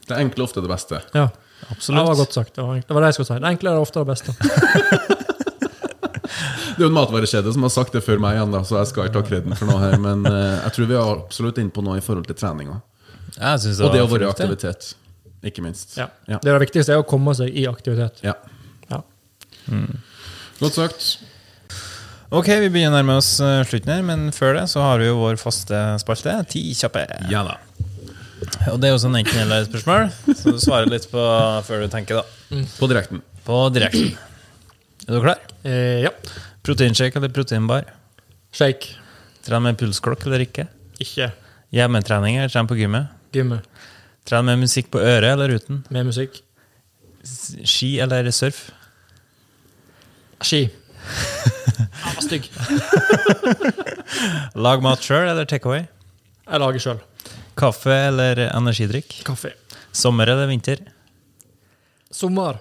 C: Det enkle er ofte det beste.
B: Ja, Det var
D: Absolutt.
B: godt sagt. Det var, det var det jeg skulle si. Det enkle er ofte det beste.
C: Det er jo en matvarekjede som har sagt det før meg igjen, da, så jeg skal ikke ta kreden for noe her. Men eh, jeg tror vi er absolutt inne på noe i forhold til treninga.
D: Jeg synes
C: Og det å være i
D: fornuftig.
C: aktivitet, ikke minst.
B: Ja.
C: Ja.
B: Det, er det viktigste er å komme seg i aktivitet.
C: Ja.
B: Ja.
C: Godt sagt.
D: Ok, vi begynner å nærme oss eh, slutten her, men før det så har vi jo vår faste spalte, Ti kjappe.
C: Ja da.
D: Og det er jo sånn enten eller spørsmål, så du svarer litt på før du tenker, da.
C: På direkten.
D: På direkten. Er du klar?
B: Eh, ja.
D: Proteinshake eller proteinbar?
B: Shake.
D: Tren med pulsklokk eller ikke?
B: Ikke
D: Hjemmetrening eller tren på gymmet?
B: gymmet.
D: Tren med musikk på øret eller uten?
B: Med musikk.
D: S- Ski eller surf?
B: Ski. Han var stygg.
D: Lag mat sjøl eller takeaway?
B: Jeg lager sjøl.
D: Kaffe eller energidrikk?
B: Kaffe.
D: Sommer eller vinter?
B: Sommer.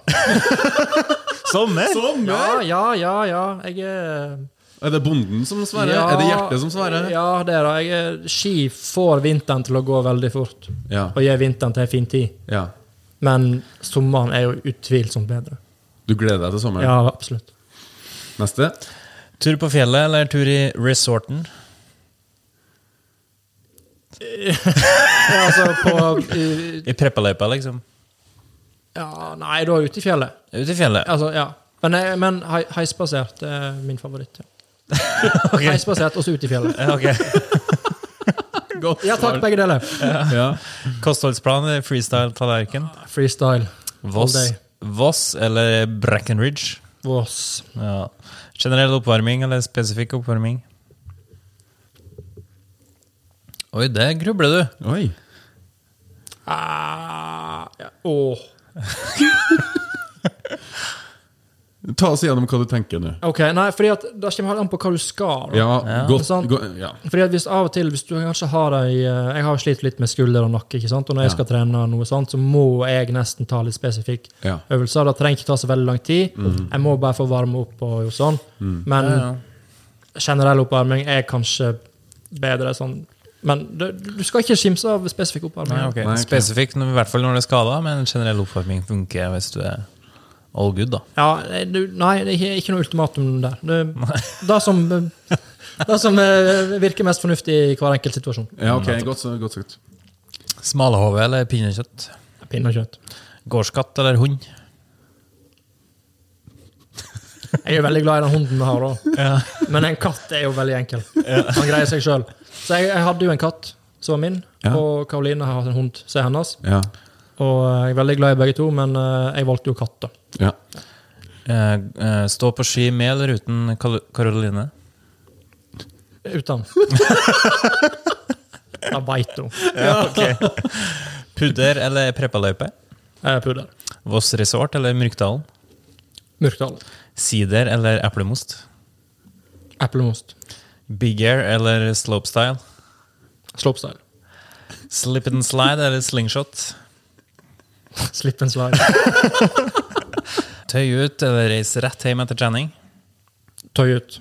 D: Sommer!
C: Sånn,
B: Ja, ja, ja. ja. Jeg er
C: Er det bonden som svarer?
B: ja,
C: Er det hjertet som svarer?
B: Ja, det er det. Jeg er- Ski får vinteren til å gå veldig fort,
C: Ja.
B: og gir vinteren til en fin tid.
C: ja.
B: Men sommeren er jo utvilsomt bedre.
C: Du gleder deg til sommeren?
B: Ja, absolutt.
C: Neste?
D: Tur på fjellet eller tur i resorten?
B: Ja, altså på i-
D: I preppaløypa, liksom?
B: Ja, nei, da er jeg ute i fjellet.
D: Ute i fjellet.
B: Altså, ja. Men, jeg- men hei- heisbasert er min favoritt. Ja. Heisbasert og så ut i fjellet.
D: Ja, ok.
C: Godt
B: Ja takk, begge deler.
C: Ja.
D: Kostholdsplan eller freestyle-tallerken?
B: Freestyle.
D: Voss,
B: All day.
D: Voss eller Breckenridge?
B: Voss.
D: Ja. Generell oppvarming eller spesifikk oppvarming? Oi, det grubler du.
C: Oi.
B: Ah, ja. Åh.
C: Ta oss igjennom hva du tenker nå.
B: Ok, nei, fordi at da kommer det an på hva du skal. da.
C: Ja, godt
B: Sant.
C: go, ja.
B: Fordi at hvis av og til, hvis du kanskje har ei eh, Jeg har slitt litt med skulder og nakke, ikke sant? og når jeg skal trene noe sånt, så må jeg nesten ta litt spesifikk
C: Ja.
B: øvelser. Det trenger ikke ta så veldig lang tid. Jeg må bare få varme opp og gjort sånn. Men generell oppvarming er kanskje bedre sånn. Men du, du skal ikke skimse av spesifikk oppvarming.
D: Nei, ok.
C: Nei, ok.
D: Spesifikk, i hvert fall når det er skada, men generell oppvarming funker hvis du er all good, da.
B: Ja, du, nei, det er ikke- ikke noe ultimatum der. Det, det som eh, Det som eh, virker mest fornuftig i hver enkelt situasjon.
C: Ja, ok, godt, så- godt sagt.
D: Smalahove eller pinnekjøtt?
B: Pinnekjøtt.
D: Gårdskatt eller hund?
B: Jeg er veldig glad i den hunden vi har, da. Men en katt er jo veldig enkel. Han greier seg sjøl. Så jeg, jeg hadde jo en katt som var min,
C: Ja.
B: og Karoline har hatt en hund som er hennes.
C: Ja.
B: Og eh, jeg er veldig glad i begge to, men eh, jeg valgte jo katt, da.
C: ja.
D: Eh, eh, stå på ski med eller uten Kal Karoline?
B: Uten. Da beit hun.
D: Ja, ok. Pudder eller preppaløype?
B: Eh, Pudder.
D: Voss resort eller Myrkdalen?
B: Myrkdal.
D: Sider eller eplemost?
B: Eplemost.
D: Big air eller slopestyle?
B: Slopestyle.
D: Slip and slide eller slingshot?
B: Slip and slide.
D: Tøy ut eller reise rett hjem etter trening?
B: Tøy ut.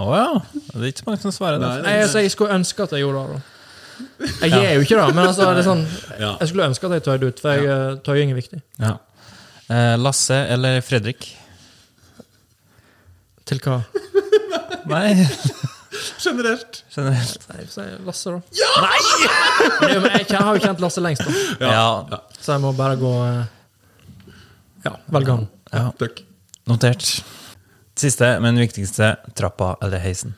D: Å ja! Det er ikke mange som svarer det.
C: Nei,
B: Nei, altså, jeg skulle ønske at jeg gjorde det. da. Jeg gjør jo ikke det, men altså, det er sånn,
C: Ja.
B: jeg skulle ønske at jeg tøyde ut, for jeg, eh, tøying er viktig.
D: Ja. Eh, Lasse eller Fredrik?
B: Til hva?
D: Nei,
C: Generelt.
D: generelt.
B: Nei, så er jeg Lasse, da. Ja! Nei! Men jeg, jeg har jo kjent Lasse lengst, da.
D: Ja.
B: så jeg må bare gå eh, Ja, velge han.
D: ja.
C: Takk.
D: Notert. Siste, men viktigste. Trappa eller heisen?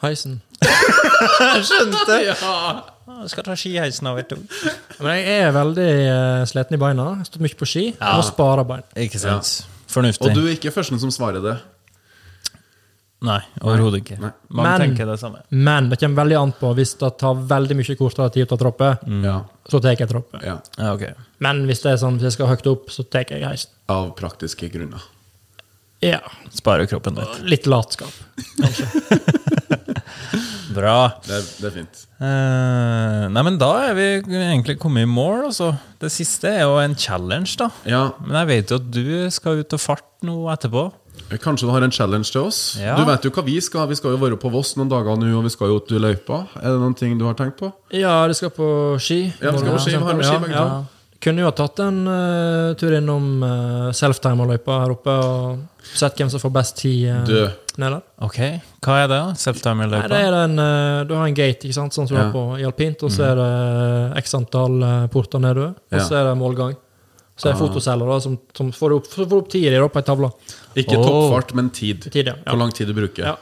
B: Heisen.
D: Jeg skal ta skiheisen over to.
B: Men jeg er veldig eh, sliten i beina. Jeg har stått mye på ski. Jeg må spare bein.
D: Ikke sant. Fornuftig.
C: Og du er ikke førsten som svarer det.
D: Nei, overhodet ikke. Mange
B: Men-
D: tenker det samme.
B: Men det kommer veldig an på. Hvis det tar veldig mye kortere tid å ta trapper,
C: Ja.
B: så tar jeg trapper.
C: ja.
D: Ja, ok.
B: Men hvis det er sånn, hvis jeg skal høyt opp, så tar jeg heisen.
C: Av praktiske grunner.
B: Ja.
D: Sparer kroppen
B: Litt
D: litt.
B: latskap.
D: Bra.
C: Det er, det er fint.
D: Eh, nei, men da er vi egentlig kommet i mål, altså. Det siste er jo en challenge, da.
C: Ja,
D: Men jeg vet jo at du skal ut og farte nå etterpå.
C: Kanskje du har en challenge til oss?
D: Ja.
C: Du vet jo hva vi skal. Vi skal jo være på Voss noen dager nå, og vi skal jo ut i løypa. Er det noen ting du har tenkt på?
B: Ja, de skal på ski.
C: Ja, de skal på ski, vi har med ski begge to.
B: Kunne jo ha tatt en eh, tur innom uh, selftimer-løypa her oppe og sett hvem som får best tid eh,
C: Du,
B: ned der.
D: Ok, hva er det? da?
B: Nei, det
D: Self-timer-løypa?
B: er en, eh, du har en gate, ikke sant, sånn som du
C: Ja. Mm.
B: har på i alpint, og så er det x antall eh, porter nedover, og så er det målgang. Så
C: Ah.
B: er det fotoceller da, som, som får opp, så får du opp tida di da på ei tavle.
C: ikke
D: Åh.
C: toppfart, men tid.
B: Tid, ja.
C: Hvor lang tid du bruker.
B: Ja.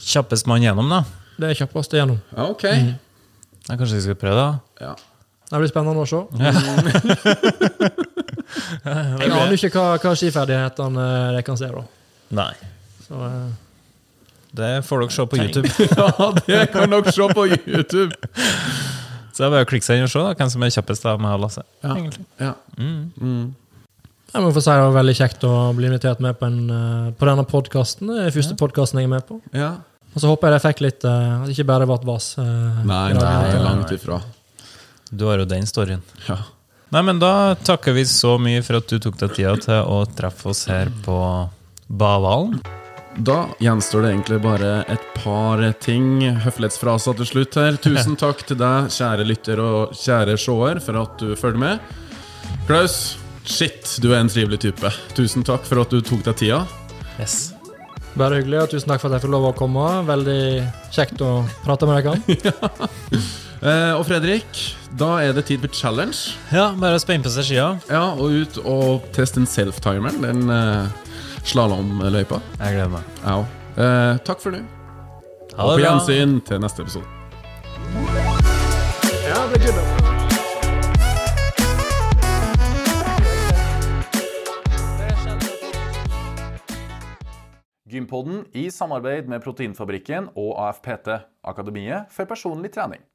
D: Kjappest mann gjennom, da.
B: Det er kjappest igjennom.
C: Ja, ok.
D: Ja, kanskje vi skal prøve, da?
C: Ja.
B: Det blir spennende å se. Jeg aner ikke hva, hva skiferdighetene eh, de kan se, da.
D: Nei.
B: Så, eh,
D: Det får dere se på YouTube.
C: ja, det kan dere se på YouTube.
D: Så det er bare å klikke seg inn og se da, altså. hvem som er kjappest av meg og Lasse.
C: Ja.
D: Egentlig.
C: Ja.
D: Mm.
C: Mm.
B: Jeg må få si Det var veldig kjekt å bli invitert med på, en, eh, på denne podkasten. Det er første podkasten jeg er med på.
C: ja.
B: Og så håper jeg de fikk litt eh, At det ikke bare ble vas. eh,
C: Nei,
B: i dag.
C: nei, langt ifra.
D: Du har jo den storyen.
C: Ja.
D: Nei, men da takker vi så mye for at du tok deg tida til å treffe oss her på Bavalen.
C: Da gjenstår det egentlig bare et par ting. Høflighetsfraser til slutt her. Tusen takk til deg, kjære lytter og kjære seer, for at du følger med. Klaus, shit, du er en trivelig type. Tusen takk for at du tok deg tida.
D: Yes.
B: Bare hyggelig, og tusen takk for at jeg fikk lov å komme. Veldig kjekt å prate med dere.
C: Eh, og Fredrik, da er det tid for challenge.
D: Ja, bare å spenne på seg skia.
C: Ja, og ut og teste en self-timer, den eh, slalåmløypa.
D: Jeg gleder meg.
C: Ja. Eh, takk for nå.
D: Ha
C: Og på
D: det bra.
C: gjensyn til neste episode.
B: Ja, det blir
A: Gympodden i samarbeid med Proteinfabrikken og AFPT, Akademiet for personlig trening.